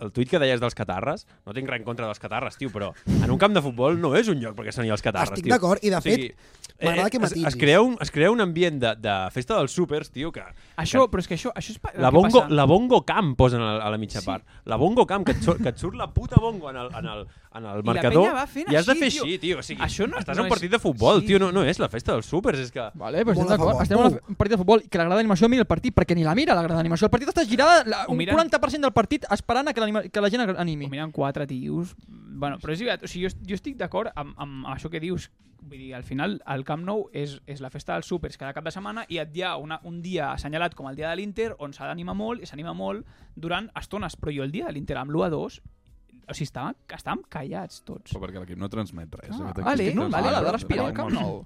D: el tuit que deies dels catarres, no tinc res en contra dels catarres, tio, però en un camp de futbol no és un lloc perquè s'anir els catarres,
B: Estic
D: tio.
B: d'acord, i de m'agrada
D: eh,
B: que
D: es-
B: matisis.
D: Es, crea un, es crea un ambient de, de festa dels súpers, tio, que...
I: Això,
D: que
I: però és que això, això és pa- el
D: la
I: que
D: bongo,
I: passa.
D: la bongo camp posen a la, a la mitja
I: Sí.
D: part. La bongo camp, que et, surt, que et surt la puta bongo en el, en el, en el
I: I la
D: marcador
I: penya va fent
D: i has de
I: així,
D: fer
I: tio.
D: així, tio. O sigui,
I: Això no-
D: estàs
I: no
D: en
I: és-
D: un partit de futbol,
I: sí.
D: tio, no, no és la festa dels súpers, és que...
C: Vale, però estem
B: Molt a
C: d'acord.
B: favor.
C: Estem en un partit de futbol que l'agrada d'animació mira el partit perquè ni la mira l'agrada d'animació. El partit està girada la,
I: Ho
C: un
I: miren-
C: 40% del partit esperant a que, l'anima- que la gent animi.
I: Ho miren quatre tios. Bueno, però és veritat, o sigui, jo, jo estic d'acord amb, amb això que dius. Vull dir, al final, el Camp Nou és, és la festa dels súpers cada cap de setmana i et hi ha una, un dia assenyalat com el dia de l'Inter on s'ha d'animar molt i s'anima molt durant estones. Però jo el dia de l'Inter amb l'1-2, o sigui, estàvem, estàvem callats tots.
A: Però perquè l'equip no transmet res. eh?
C: Ah,
A: aquest equip
C: vale,
A: que
C: no,
A: es
C: vale,
A: mata,
C: l'ha de respirar
A: que
C: al Camp
A: mor.
C: Nou.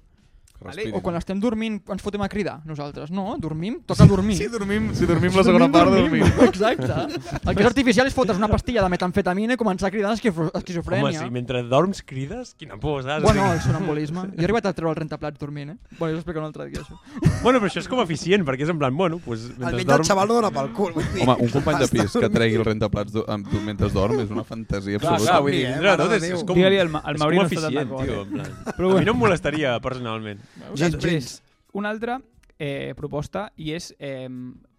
A: Que respirin.
C: O quan estem dormint ens fotem a cridar, nosaltres. No, dormim, toca dormir.
A: Si dormim, si dormim la segona part, dormim.
C: [LAUGHS] Exacte. El que és artificial és fotre's una pastilla de metanfetamina i començar a cridar esquifro-
D: Home,
C: esquizofrènia.
D: si mentre dorms crides, quina por, saps? O
C: Bueno,
D: sigui-
C: el sonambulisme. Jo he arribat a treure el rentaplats dormint, eh? Bueno, jo us explico un altre dia, això.
D: Bueno, però això és com eficient, perquè és en plan, bueno, doncs...
B: El
D: mentre
B: vell del
D: dorm-
B: xaval no dona pel cul. vull dir.
A: Home, un company de
B: Està
A: pis que
B: dormint.
A: tregui el rentaplats do- amb tu mentre dorm és una fantasia
D: Clar,
A: absoluta.
D: clar, vull dir,
B: somni, eh,
D: dintre de
B: mare
D: tot
B: de
D: és,
B: Déu.
D: és com,
I: Digue-li al Ma- al
D: és
I: Mauri
D: com
I: no està tan
D: eficient,
I: d'acord,
D: tio.
I: eh?
D: En plan. Però A mi no em molestaria,
I: [LAUGHS]
D: personalment.
B: Gens,
I: Després,
B: gens.
I: una altra eh, proposta i és eh,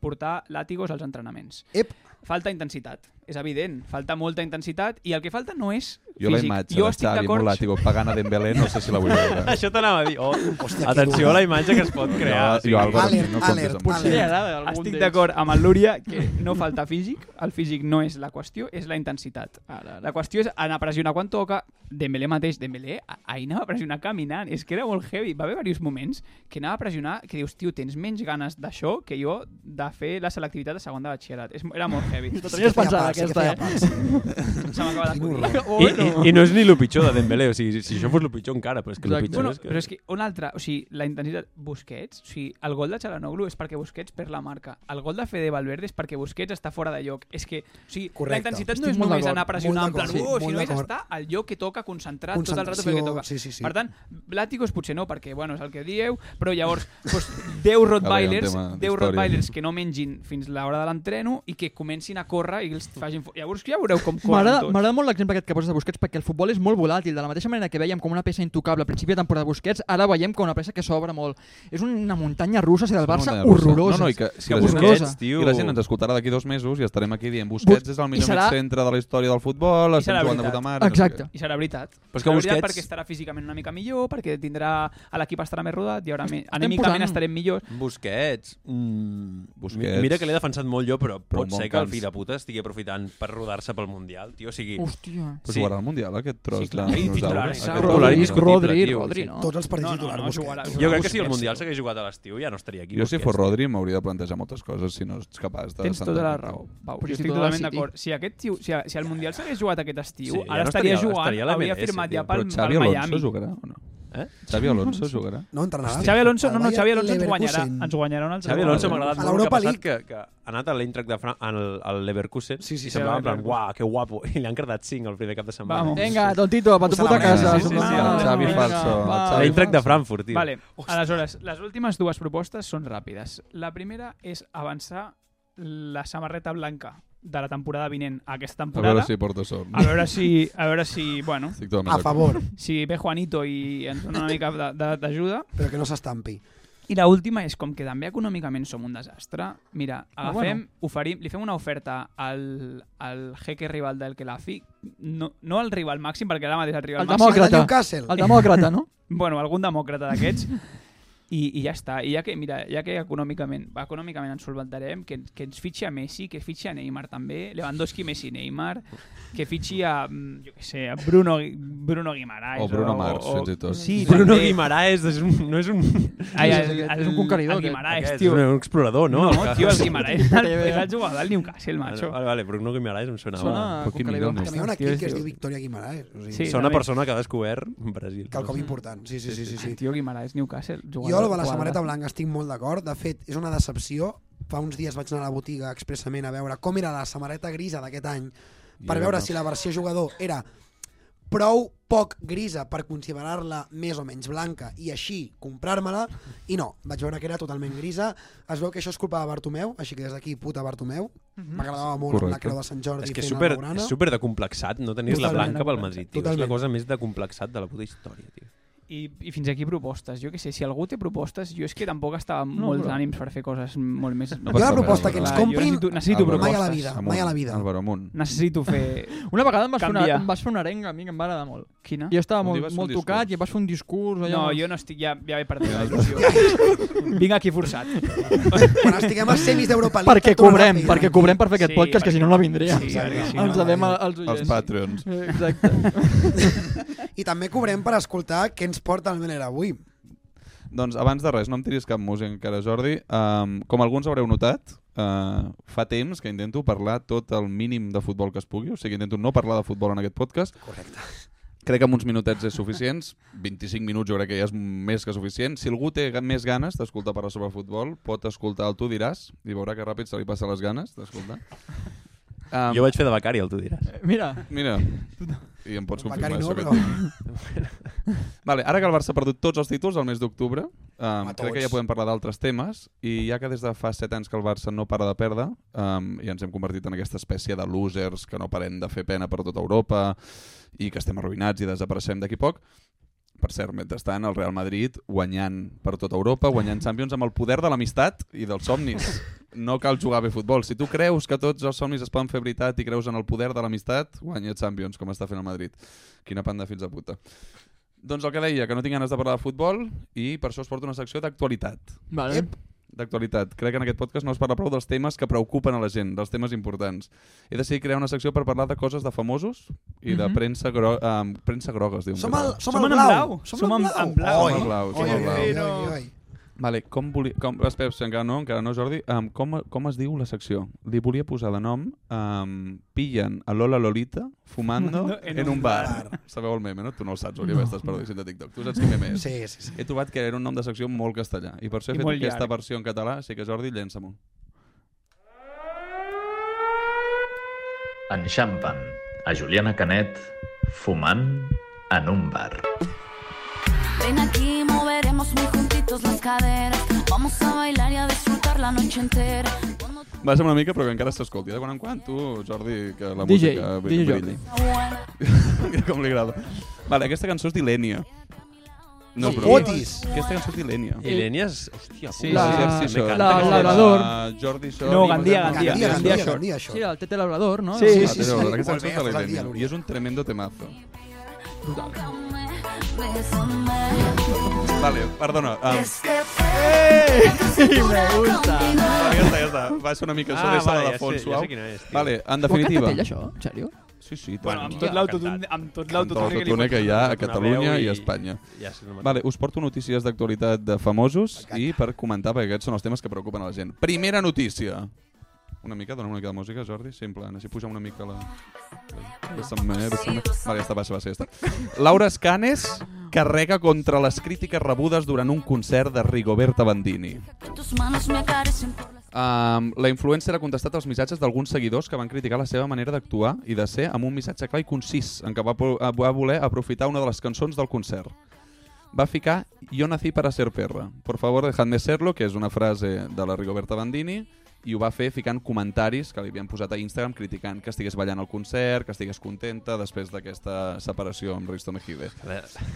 I: portar làtigos als entrenaments.
B: Ep,
I: Falta intensitat, és evident. Falta molta intensitat i el que falta no és
A: Jo la
I: físic.
A: imatge
I: Jo
A: de
I: estic
A: Xavi
I: d'acord-
A: Mulàtico pagant a Dembélé no sé si la vull veure.
D: [LAUGHS] Això t'anava a dir. Oh,
I: Hòstia, que
D: atenció
I: dura.
D: a la imatge que es pot crear.
A: Jo- jo, Álvaro, Alert, no comptes alert, amb
I: Potser
A: això.
I: li
A: alert.
I: agrada a algun Estic
A: d'ells.
I: d'acord amb el Lúria que no falta físic, el físic no és la qüestió, és la intensitat. La qüestió és anar a pressionar quan toca, Dembélé mateix, Dembélé a- ahir anava a pressionar caminant, és que era molt heavy, va haver diversos moments que anava a pressionar, que dius, tio, tens menys ganes d'això que jo de fer la selectivitat de segon de batxillerat. És, era molt heavy.
C: Te l'havies Sí que feia pensat, pals, sí que aquesta, eh? feia
I: eh? Se m'acaba d'acudir. [LAUGHS]
D: I, i, I no és ni el pitjor de Dembélé, o sigui, si això fos el pitjor encara, però és que el pitjor
I: Bueno,
D: és que...
I: però és que un altre, o sigui, la intensitat... Busquets, o sigui, el gol de Chalanoglu és perquè Busquets perd la marca. El gol de Fede Valverde és perquè Busquets està fora de lloc. És que, o sigui,
B: Correcte.
I: la intensitat
B: Estic
I: no és
B: molt
I: només
B: d'acord,
I: anar a pressionar en
B: molt
I: plan,
B: d'acord,
I: "Oh",
B: sí, molt
I: sinó és
B: d'acord.
I: estar al lloc que toca, concentrat tot el rato
B: Concentració,
I: pel que toca.
B: sí, sí, sí.
I: Per tant, Bláticos potser no, perquè, bueno, és el que dieu, però llavors, doncs, 10 Rottweilers,
A: tema
I: 10
A: d'història.
I: Rottweilers que no mengin fins l'hora de l'entreno i que comencin a córrer i els facin... fo- Llavors ja veureu
B: [LAUGHS]
I: com corren
C: M'agrada
I: tots.
C: m'agrada molt l'exemple aquest que poses de Busquets perquè el futbol és molt volàtil. De la mateixa manera que veiem com una peça intocable al principi de temporada de Busquets, ara veiem com una peça que s'obre molt. És una muntanya russa, si del Barça,
A: Muntanya russa.
C: horrorosa.
A: No, no, i que, si la gent,
C: horrorosa.
A: I la gent ens escoltarà d'aquí dos mesos i estarem aquí dient Busquets és el millor
I: I serà-
A: mig centre de la història del futbol, estem jugant de puta mare... no sé què.
I: I serà veritat.
A: Però és que
I: serà veritat
A: Busquets-
I: perquè estarà físicament una mica millor, perquè tindrà... L'equip estarà més rodat, i haurà més...
D: Estem
I: Anímicament
D: posant-
I: estarem millors.
D: Busquets. Mm,
A: Busquets.
D: Mira que l'he defensat molt jo, però,
A: Però
D: pot
A: molt
D: ser que el
A: cans.
D: fill de puta estigui aprofitant per rodar-se pel Mundial, tio. O sigui...
C: Hòstia.
A: Però jugarà al Mundial, aquest tros
D: clar.
A: de
D: Sí, titular,
A: dinosaures.
D: exacte.
A: Aquest
D: Titular
A: tros.
D: indiscutible, tio, sí.
B: Tots els partits
D: No, no,
B: titular,
D: no,
B: Busquets.
D: jugarà- Jo crec que si el Mundial s'hagués jugat a l'estiu ja no estaria aquí.
A: Jo si
D: Busquets,
A: fos
D: tio.
A: Rodri m'hauria de plantejar moltes coses si no ets capaç de...
I: Tens tota
A: centrar-te.
I: la raó, Pau.
C: Però
I: Jo
C: si
I: estic
C: tu de la
I: totalment
C: City.
I: d'acord. Si, aquest tio, si, si el Mundial s'hagués jugat aquest estiu,
A: Sí, ja
I: ara
A: no
I: estaria,
A: estaria-
I: jugant,
A: estaria a la
I: hauria
A: MLS,
I: firmat
A: tio.
I: ja pel,
A: Però Xavi
I: pel
A: Alonso
I: Miami.
A: jugarà o no?
D: Eh?
A: Xavi Alonso jugarà?
B: No entrenarà.
I: Xavi Alonso, no, no,
B: Al
I: Xavi Alonso ens
B: Bayern
I: guanyarà.
B: Leverkusen.
I: Ens guanyarà un altre
D: Xavi
I: cop.
D: Alonso m'ha agradat
I: A
D: molt el que ha
I: l'Europa
D: passat que, que ha anat a l'Eintracht de Fran al, al Leverkusen sí, sí, i
I: sí,
D: semblava en plan,
I: Leverkusen.
D: uah, que guapo, [LAUGHS] i li han cardat 5 el primer cap de setmana.
I: Vamos.
C: Vinga, tontito, pa tu puta casa.
D: Sí, sí, sí, sí, el Xavi falso, el Xavi L'Eintract de falso. Frankfurt, tio.
I: Vale, aleshores, les últimes dues propostes són ràpides. La primera és avançar la samarreta blanca de la temporada vinent a aquesta temporada.
A: veure si porta sort.
I: A veure si, a veure si bueno...
A: Estic totalment A d'acord. favor.
I: Si ve Juanito i ens dona una mica de- de- d'ajuda.
B: Però que no s'estampi.
I: I la última és, com que també econòmicament som un desastre, mira,
B: Ah,
I: agafem,
B: bueno.
I: oferim, li fem una oferta al, al jeque rival del Kelafi, no, no al rival màxim, perquè ara mateix el rival
C: El
I: màxim...
C: demòcrata. El de Newcastle. El demòcrata, no?
I: bueno, algun demòcrata d'aquests. I, I ja està. I ja que, mira, ja que econòmicament, econòmicament ens solventarem, que, que ens fitxi a Messi, que fitxi a Neymar també, Lewandowski, Messi, Neymar, que fitxi a, mm, jo què sé, a Bruno, Bruno Guimaraes.
A: O Bruno Mars, fins i tot.
I: Sí,
D: Bruno
I: també.
D: Guimaraes és un, no és un...
I: Ai, el- el- el conqueridor,
D: el
I: aquest.
D: Guimaraes,
I: Aquest,
D: tio.
I: Ah, és
D: un explorador, no?
I: No, tio, el
A: [LAUGHS]
I: Guimaraes és el-
D: Puta idea.
I: és el jugador del Newcastle, macho.
D: Vale, vale, Bruno Guimaraes em sonava.
I: Sona Però quin conqueridor.
B: També hi ha una equip que es diu Victoria Guimaraes. O sigui,
D: Sona una persona que ha descobert Brasil.
B: Quelcom important, sí, sí, sí, sí, sí.
I: Tio, Guimaraes, Newcastle.
B: Jo
I: jugador-
B: amb la
I: jugador.
B: samarreta blanca estic molt d'acord. De fet, és una decepció. Fa uns dies vaig anar a la botiga expressament a veure com era la samarreta grisa d'aquest any per
A: I
B: veure
A: no.
B: si la versió jugador era prou poc grisa per considerar-la més o menys blanca i així comprar-me-la i no, vaig veure que era totalment grisa es veu que això és culpa de Bartomeu així que des d'aquí, puta Bartomeu
I: Mhm.
B: m'agradava molt amb la creu de Sant Jordi
D: És que és
B: fent el
D: super,
B: Blaugrana.
D: és super decomplexat no tenir la
B: Totalment.
D: blanca pel Madrid, tio. És
B: Totalment.
D: la cosa més decomplexat de la puta història, tio.
I: I, I fins aquí propostes. Jo que sé, si algú té propostes, jo és que tampoc estava amb
B: No,
I: molts
B: però-
I: ànims per fer coses molt més...
A: No Jo la passa proposta res, que ens
I: Clar, jo
A: comprin,
I: necessito, necessito
A: Álvaro,
I: propostes.
A: mai a la vida, mai a la vida. Álvaro, amunt.
I: Necessito
A: [LAUGHS]
I: fer...
C: Una vegada em vas, fer una,
I: Canviar.
C: em vas fer una arenga a mi que em va agradar molt.
I: Quina?
C: Jo estava
I: Un dia
C: molt,
I: vas fer un
C: molt
I: discurs.
C: tocat i em vas fer un discurs. Allò
I: No,
C: molt-
I: jo no estic... Ja, ja he perdut la il·lusió. Vinc aquí forçat.
B: Quan estiguem a semis d'Europa
C: [LAUGHS]
B: League,
C: Perquè
B: et torno
C: cobrem,
B: ràpid.
C: perquè cobrem per fer aquest
B: Sí,
C: podcast, que si no no vindria.
B: Sí, perquè si no,
C: Ens
B: no
C: devem
B: vindria.
C: als oients.
A: Els Patreons.
C: Eh, [LAUGHS] Exacte.
B: I també cobrem per escoltar què ens porta el Mener avui.
A: Doncs abans de res, no em tiris cap música encara, Jordi. Um, com alguns haureu notat, uh, fa temps que intento parlar tot el mínim de futbol que es pugui, o sigui, intento no parlar de futbol en aquest podcast.
B: Correcte.
A: Crec que amb uns minutets és suficients, 25 minuts jo crec que ja és més que suficient. Si algú té ga- més ganes d'escoltar parlar sobre futbol, pot escoltar el Tu diràs i veurà que ràpid se li passen les ganes d'escoltar. Um,
D: Jo vaig fer de becari, el tu diràs.
C: Mira.
A: Mira. I em pots confirmar
D: Becari no,
A: això que
D: però-
A: et dic. Vale, ara que el Barça ha perdut tots els títols al mes d'octubre, um,
D: A tots.
A: crec que ja podem parlar d'altres temes, i ja que des de fa 7 anys que el Barça no para de perdre, um, i ens hem convertit en aquesta espècie de losers que no parem de fer pena per tota Europa, i que estem arruïnats i desapareixem d'aquí poc, per cert, mentrestant,
D: [LAUGHS]
A: el Real Madrid guanyant per tota Europa, guanyant Champions amb el poder de l'amistat i dels somnis. no cal jugar bé a futbol. Si tu creus que tots els somnis es poden fer veritat i creus en el poder de l'amistat, guanya Champions, com està fent el Madrid. Quina panda fins a puta. Doncs el que deia, que no tinc ganes de parlar de futbol i per això us porto una secció d'actualitat.
C: Vale. Ep.
A: D'actualitat. Crec que en aquest podcast no es parla prou dels temes que preocupen a la gent, dels temes importants. He decidit crear una secció per parlar de coses de famosos i de
B: Mhm.
A: premsa, gro eh, premsa groga, es diu. en
B: Som
A: català.
B: el- som Som el en blau. blau. Som
I: Som en en blau. blau.
A: Som el blau.
I: Oi,
A: Som el
I: oi,
A: blau.
I: oi, oi, oi.
A: Vale, com volia... Com, espera, si encara no, encara no, Jordi. Um, com, com es diu la secció? Li volia posar de nom um, Pillen a Lola Lolita fumando
I: Fumando
A: en, en un bar. Sabeu el meme, no? Tu no el saps, Oriol,
I: No.
A: no. estàs perdudíssim de TikTok. Tu saps quin meme és.
B: Sí, sí, sí.
A: He trobat que era un nom de secció molt castellà. I per això he
I: I
A: fet
I: molt llarg.
A: aquesta versió en català. Així que, Jordi, llença-m'ho.
H: Enxampen a Juliana Canet fumant en un bar.
M: Ven aquí, moveremos muy juntitos las caderas. Vamos a bailar y a disfrutar la noche entera.
A: Va ser una mica, però que encara s'escolti. De quan en quan, tu, Jordi, que la
C: DJ,
A: música
C: DJ
A: brilli. [LAUGHS] Com li agrada. Vale, aquesta cançó és d'Ilenia. No,
I: Sí.
A: però...
I: Fotis.
A: Aquesta cançó és d'Ilenia.
D: Ilenia és- hòstia,
A: sí,
D: puta,
A: la...
D: sí, sí,
A: sí,
D: m'encanta.
A: la,
D: La-
A: la,
D: Labrador.
A: Jordi Sor...
I: No, Gandia,
A: Imagina-
I: Gandia, Gandia, Gandia Shore. Gandia Shore.
C: Sí, el Tete Labrador, no?
A: Sí, sí, sí.
C: sí.
A: Ah, Aquesta
C: Molt bé,
A: cançó és
C: has
A: de
C: posat dia,
A: l'Ilenia. I és un tremendo temazo. Vale, perdona. Um,
G: Me gusta.
A: vale, ja està, ja està. Va ser una mica això
D: Ah,
A: ah, de sala
D: vale, ja
A: de
D: sé,
A: fons
D: ja sé
A: suau.
D: quina és, tio.
A: vale, en
C: Ho ha cantat
A: definitiva...
C: ell, això? En sèrio?
A: Sí, sí, i tant.
I: Bueno, amb tot l'autotune amb tot l'autotune
A: Tot
I: que li
A: el
I: fots.
A: que hi ha a
D: Bernabéu
A: Catalunya i,
D: i-
A: a Espanya.
D: Ja sé, no me'n-
A: vale, us porto notícies d'actualitat de famosos i per comentar, perquè aquests són els temes que preocupen a la gent. Primera notícia. Una mica, dona una mica de música, Jordi, sí, en plan, així puja una mica la... Bésame, bésame. Vale, ja està, baixa, baixa, ja està. Laura Escanes carrega contra les crítiques rebudes durant un concert de Rigoberta Bandini.
M: Que tus manos me acaricien por las
A: Um, la influencer ha contestat als missatges d'alguns seguidors que van criticar la seva manera d'actuar i de ser amb un missatge clar i concís en què va, po- va voler aprofitar una de les cançons del concert. Va ficar Yo nací para ser perra. Por favor, dejadme serlo, que és una frase de la Rigoberta Bandini, i ho va fer ficant comentaris que li havien posat a Instagram criticant que estigués ballant al concert, que estigués contenta després d'aquesta separació amb Risto Mejide.
D: A veure,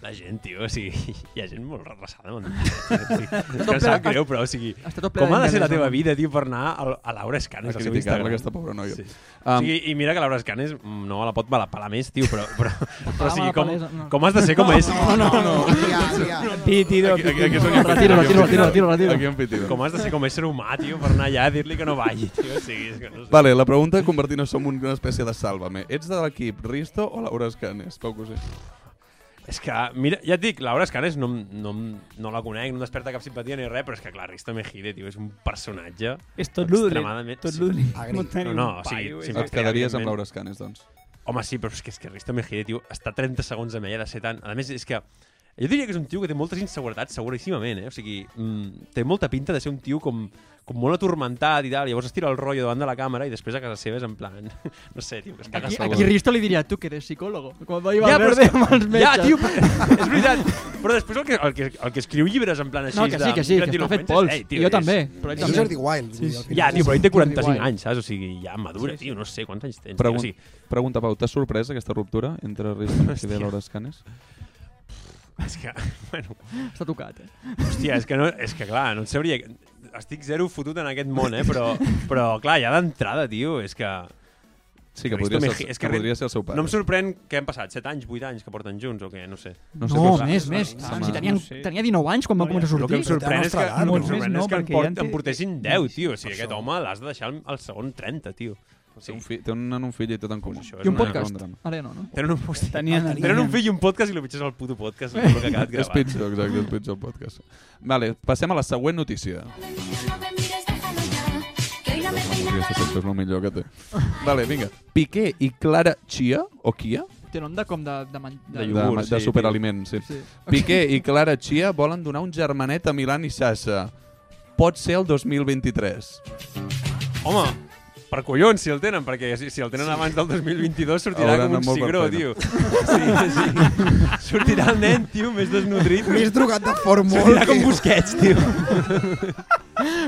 D: La gent, tio, o [LAUGHS] sigui, hi ha gent molt regressada. Amb... [LAUGHS] Sí, és que em
A: ple-
D: sap greu, però, o sigui,
A: Està tot ple
D: com ha de
A: d'internet,
D: ser la teva
A: home.
D: vida, tio, per anar a, a Laura Escanes,
A: A
D: al seu
A: criticar-la,
D: Instagram?
A: aquesta pobra noia.
D: Sí.
A: Um,
D: o sigui, I mira que Laura Escanes mm, no la pot malapalar més, tio, però,
C: [LAUGHS]
D: però, però o sigui,
C: mala
D: com,
C: palesa, no.
D: com has de ser com és?
C: No, no, no, no. Tia, tia. Pitido,
D: Aquí- aquí- aquí és on
C: pitido.
D: hi ha un pitido,
C: Retiro, retiro,
D: aquí és on hi ha un
C: retiro, retiro, retiro.
A: Aquí hi ha un pitido.
D: Com has de ser com a ésser humà, tio, per anar allà a dir-li que no balli, tio, o sigui, és que no sé.
A: Vale, la pregunta convertir-nos en una espècie de sàlvame. Ets de l'equip Risto o Laura Escanes? Pau Cosí.
D: És que, mira, ja et dic, Laura Escanes no, em- no, em- no la conec, no em desperta cap simpatia ni res, però és que, clar, Risto Mejide, tio, és un personatge...
I: És tot lo dolent,
D: extremadament-
I: tot lo dolent.
D: Sí.
I: No tenim
D: No, no,
I: un
D: o sigui,
I: paio, eh? és
D: sempre
A: Et quedaries
D: evidentment-
A: amb Laura Escanes, doncs.
D: Home, sí, però és que, és que Risto Mejide, tio, està 30 segons amb ella de ser tan... A més, és que... Jo diria que és un tio que té moltes inseguretats, seguríssimament, eh? O sigui, mm, té molta pinta de ser un tio com, com molt atormentat i tal, llavors es tira el rotllo davant de la càmera i després a casa seva és en plan... [LAUGHS] No sé, tio, que es caga
C: Aquí,
D: a sobre.
C: aquí Risto li diria, tu que eres psicòlogo. Quan va
D: Ja,
C: a
D: però és
C: verde
D: que-
C: [LAUGHS] amb els metges.
D: Ja, tio, però- [LAUGHS] és veritat. Però després el que, el que, el que escriu llibres en plan així...
C: No, que sí, que sí, que està fet pols.
D: eh,
C: Jo també, però ell també. Jordi Wild, vull dir, al final.
D: Ja, tio, però ell té
C: Jordi
D: 45
C: Wild.
D: anys, saps? O sigui, ja madura, tio, no sé quants anys tens. tio,
A: Pregun
D: o sigui,
A: Pregunta, Pau, t'ha sorprès aquesta ruptura entre Risto Mejide i Laura Escanes?
D: És que, [LAUGHS] bueno...
C: Està tocat, eh?
D: Hòstia, és que, no, és que clar, no et sabria... Estic zero fotut en aquest món, eh? Però, però clar, ja d'entrada, tio, és que...
A: Sí, que
D: Risto
A: podria ser-
D: Meji-
A: que podria ser el seu pare.
D: No em sorprèn que han passat 7 anys, 8 anys que porten junts o què, no sé.
C: No, sé no més, més. Si tenia, tenia 19 anys quan va començar a
D: El
C: sortir.
D: que em sorprèn és que, el que, em sorprèn és que en,
C: perquè
D: port, en portessin 10, tio. O sigui, aquest
C: Això.
D: home l'has de deixar al- al segon 30, tio. O sigui,
A: Un fi, té un, un fill i tot en comú.
D: això és una-
A: [LAUGHS]
C: Ara no, no?
D: Tenen un, hòstia,
A: Tenien-
D: tenen
A: tenien.
D: un fill i un podcast i el pitjor és el puto podcast. És el que ha quedat
A: És
D: gravat.
A: pitjor, exacte, és pitjor el podcast. Vale, passem a la següent notícia. Aquesta secció és el millor que té. Vale, vinga. Piqué i Clara Chia, o Kia,
C: Té nom de com de... De, man...
A: de, de superaliment, sí.
C: Sí.
A: sí. Piqué i Clara Chia volen donar un germanet a Milan i Sasha. Pot ser el 2023.
D: Home, per collons, si el tenen, perquè si, si el tenen
A: Sí.
D: sí. abans del 2022 sortirà
A: Hauran anat
D: Hauran com un
A: molt per
D: cigró,
A: feina.
D: tio. Sí, sí. Sortirà el nen, tio, més desnodrit.
B: Més drogat [LAUGHS] de formol.
D: Sortirà com
B: que-
D: Busquets, tio.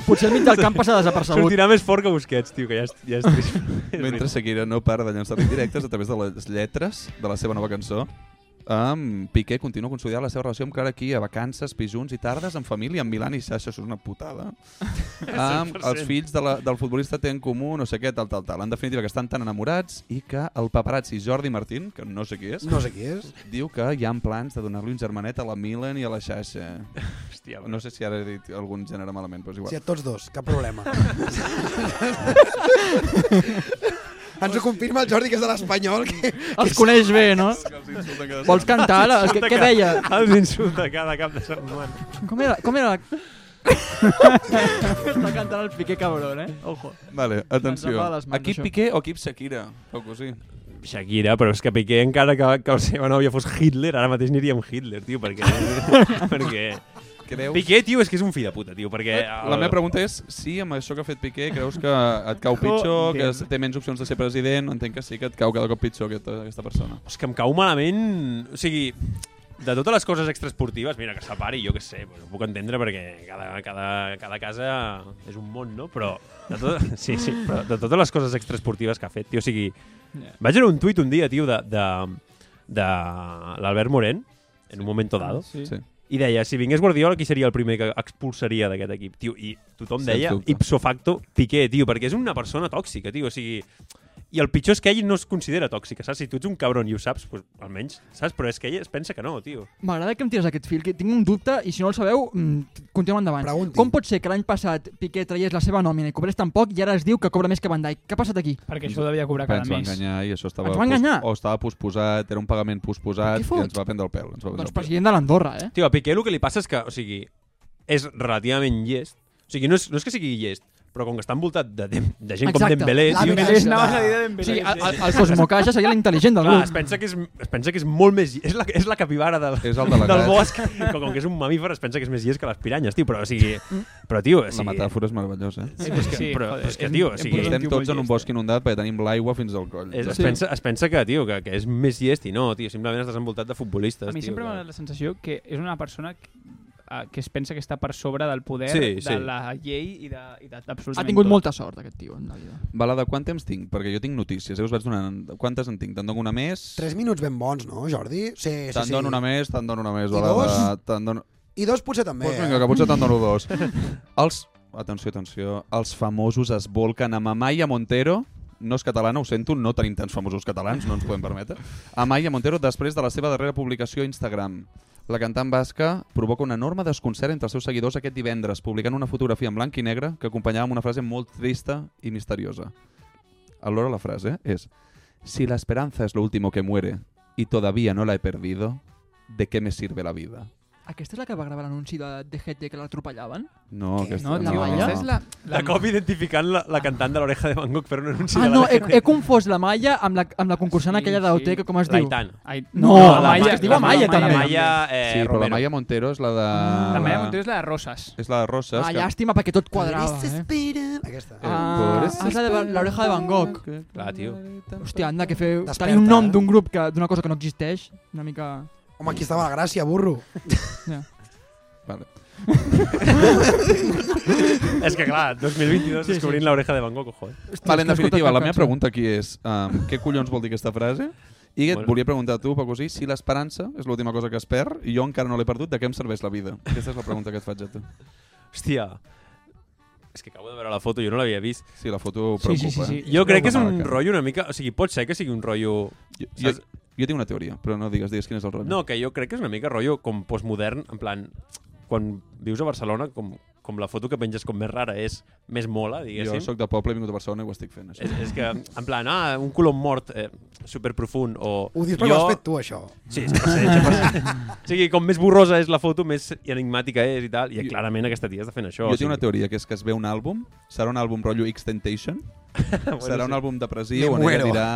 C: Potser al mig del camp passa desapercebut.
D: Sortirà més fort que Busquets, tio, que ja és, ja és
A: [LAUGHS]
D: trist.
A: Mentre Shakira no para de llançar indirectes a través de les lletres de la seva nova cançó, amb Piqué continua consolidant la seva relació amb Clara Kia, vacances, pijuns i tardes en família, amb Milan i Sasha, això és una putada. amb
N: 100%.
A: els fills de la, del futbolista té en comú no sé què, tal, tal, tal. En definitiva, que estan tan enamorats i que el paparazzi Jordi Martín, que no sé qui és,
B: No sé qui és.
A: diu que hi ha plans de donar-li un germanet a la Milan i a la Sasha. Hòstia, no sé si ara he dit algun gènere malament, però és igual.
B: Sí, a tots dos, cap [LAUGHS] problema. Ens ho confirma el Jordi, que és de l'Espanyol. Que,
C: Els coneix bé, no? Vols cantar? ara?
D: Els
C: Què,
D: insulta
C: què
D: cada-
C: deia?
D: Els insulta cada cap de setmana.
C: Com era? Com era? [LAUGHS] Està cantant el Piqué cabrón, eh? Ojo.
A: Vale,
C: Ens
A: atenció.
C: va a les mans,
A: Equip
C: això.
A: Piqué o equip Shakira? O cosí.
D: Shakira, però és que Piqué, encara que, que la seva nòvia fos Hitler, ara mateix aniria amb Hitler,
A: [LAUGHS]
D: tio, perquè... perquè...
A: Creus?
D: Piqué, tio, és que és un fill de puta, tio,
B: Eh,
D: perquè...
A: Eh, La meva pregunta és si amb això que ha fet Piqué creus que et
B: [LAUGHS]
A: cau pitjor, que es- té menys opcions de ser president, entenc que sí que et cau cada cop pitjor aquesta, aquesta persona.
D: És que em cau malament... O sigui, de totes les coses extraesportives, mira, que separi, jo què sé, doncs ho puc entendre perquè cada, cada, cada casa és un món, no? Però de, tot, [LAUGHS] sí, sí, però de totes les coses extraesportives que ha fet, tio, o sigui...
I: Yeah.
D: Vaig veure un tuit un dia, tio, de, de, de l'Albert Morent, en un momento dado,
A: sí. Sí.
D: i deia, si vingués Guardiola, qui seria el primer que expulsaria d'aquest equip? Tio, I tothom
A: Sens
D: deia,
A: dubte.
D: ipso facto, Piqué, tio, perquè és una persona tòxica, tio, o sigui... I el pitjor és que ell no es considera tòxica, saps? Si tu ets un cabron i ho saps, pues, almenys, saps? Però és que ell es pensa que no, tio.
C: M'agrada que em tires aquest fil, que tinc un dubte i si no el sabeu, mm, continuem endavant. Pregunti. Com pot ser que l'any passat Piqué traiés la seva nòmina i cobrés tan poc i ara es diu que cobra més que Van Dijk? Què ha passat aquí?
I: Perquè això ho devia
B: Ah,
I: cobrar
A: Però
I: cada
A: ens va
I: mes.
A: enganyar i això estava...
C: Ens va enganyar?
A: pos- O estava posposat, era un pagament posposat
C: Què
A: i
C: fot?
A: ens va prendre el pèl. Ens va prendre
C: Doncs
A: el pèl.
C: president de l'Andorra, eh?
D: Tio, a Piqué el que li passa és que, o sigui, és relativament llest. O sigui, no és, no és que sigui llest, però com que està envoltat de, de, de gent com
C: Exacte.
D: Dembélé... tio,
C: Dembélé és- Anava a dir de Dembélé. Sí, el- el- el Cosmocaja seria l'intel·ligent del
D: Clar,
C: grup.
D: Es pensa que és, es pensa que és molt més... És la, és la capibara del,
A: És el delegat.
D: del bosc. Com, com que és un mamífer, es pensa que és més llest que les piranyes, tio. Però, o sigui... Però, tio, o
A: La
D: sigui,
A: metàfora és meravellosa. eh?
D: Sí, però és que- Sí, però- joder, però és que, és- tio, o és sigui- un
A: estem
D: tio molt
A: tots en un bosc inundat perquè tenim l'aigua fins al coll.
D: Es, es, pensa, es pensa que, tio, que, que és més llest i no, tio, simplement estàs envoltat de futbolistes.
I: A mi
D: tio,
I: sempre m'ha
D: que...
I: donat la sensació que és una persona que, eh, que es pensa que està per sobre del poder,
D: Sí,
I: de
D: sí.
I: la llei i de- i de- d'absolutament
C: Ha tingut
I: tot.
C: molta sort aquest tio en la vida.
A: Balada, quant temps tinc? Perquè jo tinc notícies, eh? us vaig donant... Quantes en tinc? Te'n dono una més?
B: [LAUGHS] Tres minuts ben bons, no, Jordi? Sí, sí,
A: Te'n
B: sí.
A: dono una més, te'n dono una més,
B: I
A: Balada.
B: dos?
A: Te'n dono...
B: I dos potser també. eh?
A: Doncs vinga, que potser te'n dono dos. [LAUGHS] Els, atenció, atenció, els famosos es volquen amb Amaya Montero, no és catalana, ho sento, no tenim tants famosos catalans, no ens podem permetre. Amaya Montero, després de la seva darrera publicació a Instagram. La cantant basca provoca un enorme desconcert entre els seus seguidors aquest divendres, publicant una fotografia en blanc i negre que acompanyava amb una frase molt trista i misteriosa. Alhora la frase és Si la esperanza es lo último que muere y todavía no la he perdido, ¿de qué me sirve la vida?
C: Aquesta és la que va gravar l'anunci de, de GT que l'atropellaven?
A: No, aquesta
C: No,
A: no.
C: tio, aquesta és la-
D: De cop identificant la, la cantant de l'oreja de Van Gogh per un anunci
C: Ah,
D: de
C: no,
D: la...
C: he, he confós la Maia amb la, amb la concursant sí, aquella d'OT, que com es diu?
D: L'Aitana.
I: Ai-
C: No,
I: No,
C: la Maia, es diu Amaya, també.
D: Eh,
A: sí, però la Maia Montero és la de...
I: La Maia
D: Ah.
I: Montero és la de Roses.
A: És la de Roses.
C: Ah, llàstima, perquè tot quadrava, eh?
B: Aquesta.
C: Ah,
A: Por
C: ah, és la de l'oreja de Van Gogh.
D: Clar, tio.
C: Hòstia, anda, que fer...
B: Desperta,
C: Tenir un nom
B: eh?
C: d'un grup que d'una cosa que no existeix, una mica...
B: Home, aquí estava la gràcia, burro.
C: Ja.
A: Vale.
D: És que, clar, 2022
A: Sí, sí.
D: descobrint l'oreja de Van Gogh, ojo. eh?
A: Vale, en definitiva, la meva pregunta aquí és um, què collons vol dir aquesta frase? I et
D: Bueno.
A: volia preguntar a tu, Paco, sí, si l'esperança és l'última cosa que es perd i jo encara no l'he perdut, de què em serveix la vida? Aquesta és la pregunta que et faig a tu.
D: Hòstia. És que acabo de veure la foto, jo no l'havia vist.
A: Sí, la foto Sí, preocupa, sí, sí, sí. eh?
D: Jo crec que és
A: Preocupa
D: un
A: la cara.
D: rotllo una mica... O sigui, pot ser que sigui un rotllo...
A: Jo, jo tinc una teoria, però no digues, digues quin és el rotllo.
D: No, que jo crec que és una mica rotllo com postmodern, en plan, quan vius a Barcelona, com, com la foto que penges com més rara és, més mola, diguéssim.
A: jo sóc de poble, he vingut a Barcelona i ho estic fent, això.
D: És, és que, en plan, ah, un colom mort eh, superprofund o...
B: Ho dius perquè ho has fet tu, això.
D: Sí, 100%, 100%. [LAUGHS] o sigui, com més borrosa és la foto, més enigmàtica és i tal, i clarament aquesta tia està fent això.
A: Jo
D: o sigui,
A: tinc una teoria, que és que es ve un àlbum, serà un àlbum rotllo X-Temptation,
D: [LAUGHS]
A: serà un
D: sí.
A: àlbum
D: Me
A: depressiu on ella
D: muero.
A: dirà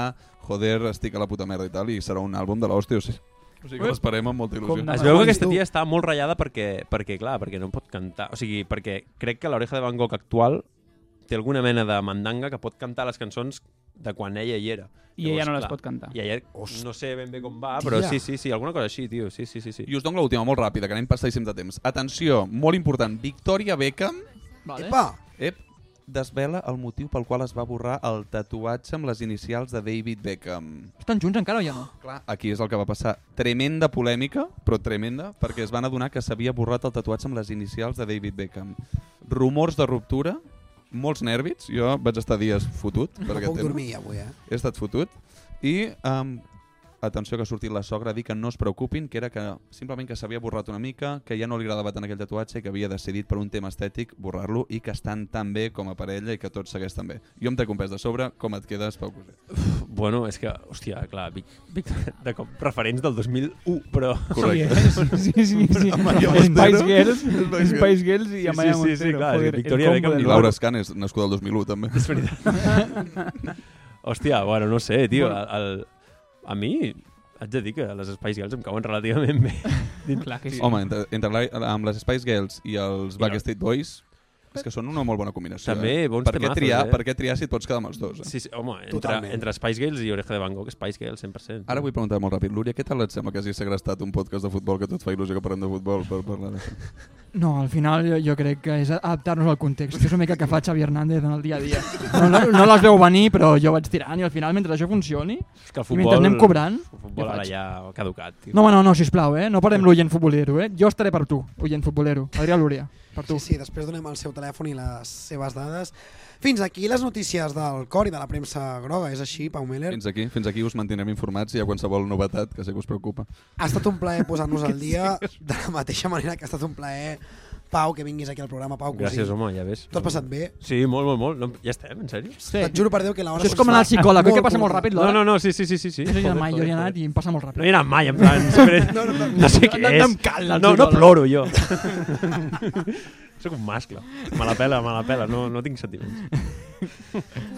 A: joder, estic a la puta merda i tal, i serà un àlbum de l'hòstia, o sigui, o sigui que l'esperem amb molta il·lusió.
D: Es veu que aquesta tia està molt ratllada perquè, perquè, clar, perquè no pot cantar. O sigui, perquè crec que l'oreja de Van Gogh actual té alguna mena de mandanga que pot cantar les cançons de quan ella hi era.
I: I ella no les pot cantar.
D: I ella no sé ben bé com va, però
A: Hòstia.
D: sí, sí, sí, alguna cosa així, tio. Sí, sí, sí, sí.
A: I us dono l'última, molt ràpida, que anem passadíssim de temps. Atenció, molt important, Victoria Beckham
C: Vale.
B: Epa!
A: Ep, desvela el motiu pel qual es va borrar el tatuatge amb les inicials de David Beckham.
C: Estan junts encara o ja no?
A: Clar. Aquí és el que va passar. Tremenda polèmica, però tremenda, perquè es van adonar que s'havia borrat el tatuatge amb les inicials de David Beckham. Rumors de ruptura, molts nervis. Jo vaig estar dies fotut. Per
B: No
A: aquest
B: puc
A: tema.
B: dormir avui, eh?
A: He estat fotut. I, um, atenció, que ha sortit la sogra a dir que no es preocupin, que era que simplement que s'havia borrat una mica, que ja no li agradava tant aquell tatuatge i que havia decidit per un tema estètic borrar-lo i que estan tan bé com a parella i que tot segueix tan bé. Jo em t'he compès de sobre, com et quedes, Pau Cosé?
D: Bueno, és que, hòstia, clar, Vic, Vic [LAUGHS] de cop, referents del 2001, però...
A: Correcte.
I: [LAUGHS] Sí, sí, sí, sí.
D: Maria
I: Spice
D: Montero.
I: Girls, Spice Girls i Amaya
D: sí, sí, sí,
I: Montero,
D: clar,
I: joder,
D: joder,
I: el
D: Victoria
I: combo
D: Beckham
A: I
D: i
A: Laura Scan és nascuda el 2001, també.
D: És veritat. Hòstia, bueno, no sé, tio.
A: Bueno.
D: Bueno. El, a mi, haig de dir que les Spice Girls em cauen relativament bé.
I: Clar que sí.
A: [LAUGHS] Home, entre, entre la, amb les Spice Girls i els Backstreet Boys, és que són una molt bona combinació. eh?
D: També bons
A: per què
D: temazos,
A: triar,
D: eh?
A: Per què triar si et pots quedar amb els dos? Eh?
D: Sí, sí, home, entre, entre Spice Girls i Oreja de Van Gogh, Spice Girls, 100%.
A: Ara vull preguntar molt ràpid, Lúria, què tal et sembla que hagi segrestat un podcast de futbol que tot fa il·lusió que parlem de futbol per parlar d'això?
C: No, al final jo, jo crec que és adaptar-nos al context, que és una mica que fa Xavi Hernández en el dia a dia. No, no, no les veu venir, però jo vaig tirant i al final, mentre això funcioni,
D: És que el
C: i
D: futbol...
C: mentre anem cobrant,
D: El futbol
C: jo
D: ara
C: faig.
D: ja ha caducat. Tio.
C: No, home, no, no, sisplau, eh? No parem l'oient futbolero, eh? Jo estaré per tu, oient futbolero. Adrià Lúria, per tu.
B: Sí, sí, després donem el seu telèfon i les seves dades. Fins aquí les notícies del cor i de la premsa groga. És així, Pau Meller?
A: Fins aquí, fins aquí us mantindrem informats i a qualsevol novetat que sé que us preocupa.
B: Ha estat un
D: [LAUGHS]
B: plaer posar-nos al dia de la mateixa manera que ha estat un plaer, Pau, que vinguis aquí al programa, Pau Cosí.
D: Gràcies, home, ja ves.
B: T'ho has passat bé?
D: Sí, molt, molt, molt. No, ja estem, en sèrio?
B: Sí. Et juro per Déu que la hora
C: Això és com anar al psicòleg, eh, que passa molt ràpid l'hora.
D: No, no, no, sí, sí, sí. sí, sí.
C: Jo no hi he anat
D: Joder,
C: mai, jo
D: joder,
C: hi he anat
D: joder.
C: i em passa molt ràpid.
D: No hi he anat mai, en plan... [LAUGHS] Sempre... no, no, no, no, sé què
C: no,
D: és.
C: no em cal anar al
D: no, no
C: psicòleg.
D: ploro, jo.
C: [LAUGHS]
D: Soc un mascle. Me la pela, me la pela. No, no tinc sentiments.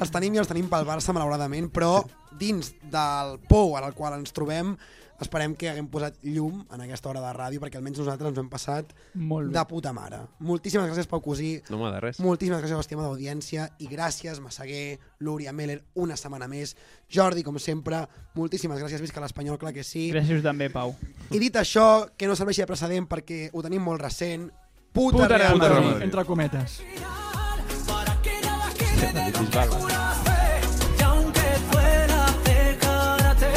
B: Els tenim i els tenim pel Barça, malauradament, però dins del pou en el qual ens trobem, esperem que haguem posat llum en aquesta hora de ràdio, perquè almenys nosaltres ens ho hem passat
I: Molt bé.
B: de puta mare. Moltíssimes gràcies, Pau Cosí.
D: No, home, de res.
B: Moltíssimes gràcies a l'estima d'audiència i gràcies, Massaguer, Lúria Meller, una setmana més. Jordi, com sempre, moltíssimes gràcies. Visca l'Espanyol, clar que sí.
I: Gràcies també, Pau.
B: I dit això, que no serveixi de precedent perquè ho tenim molt recent, puta,
C: Puta Real
B: Madrid.
C: Madrid, entre cometes.
N: Y aunque fuera de karate,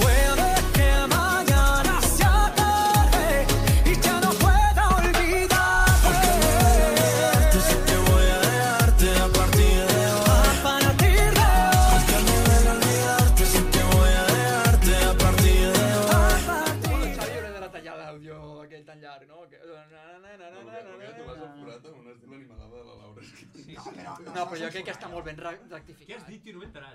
N: puede que mañana sea tarde y ya no pueda olvidarte. Porque olvidarte si te voy a dejarte a partir de hoy. A partir de hoy. Porque no voy a olvidarte si te voy a dejarte a partir de hoy.
A: No,
C: però jo crec que està molt ben rectificat. Què has dit, tio? No m'he enterat.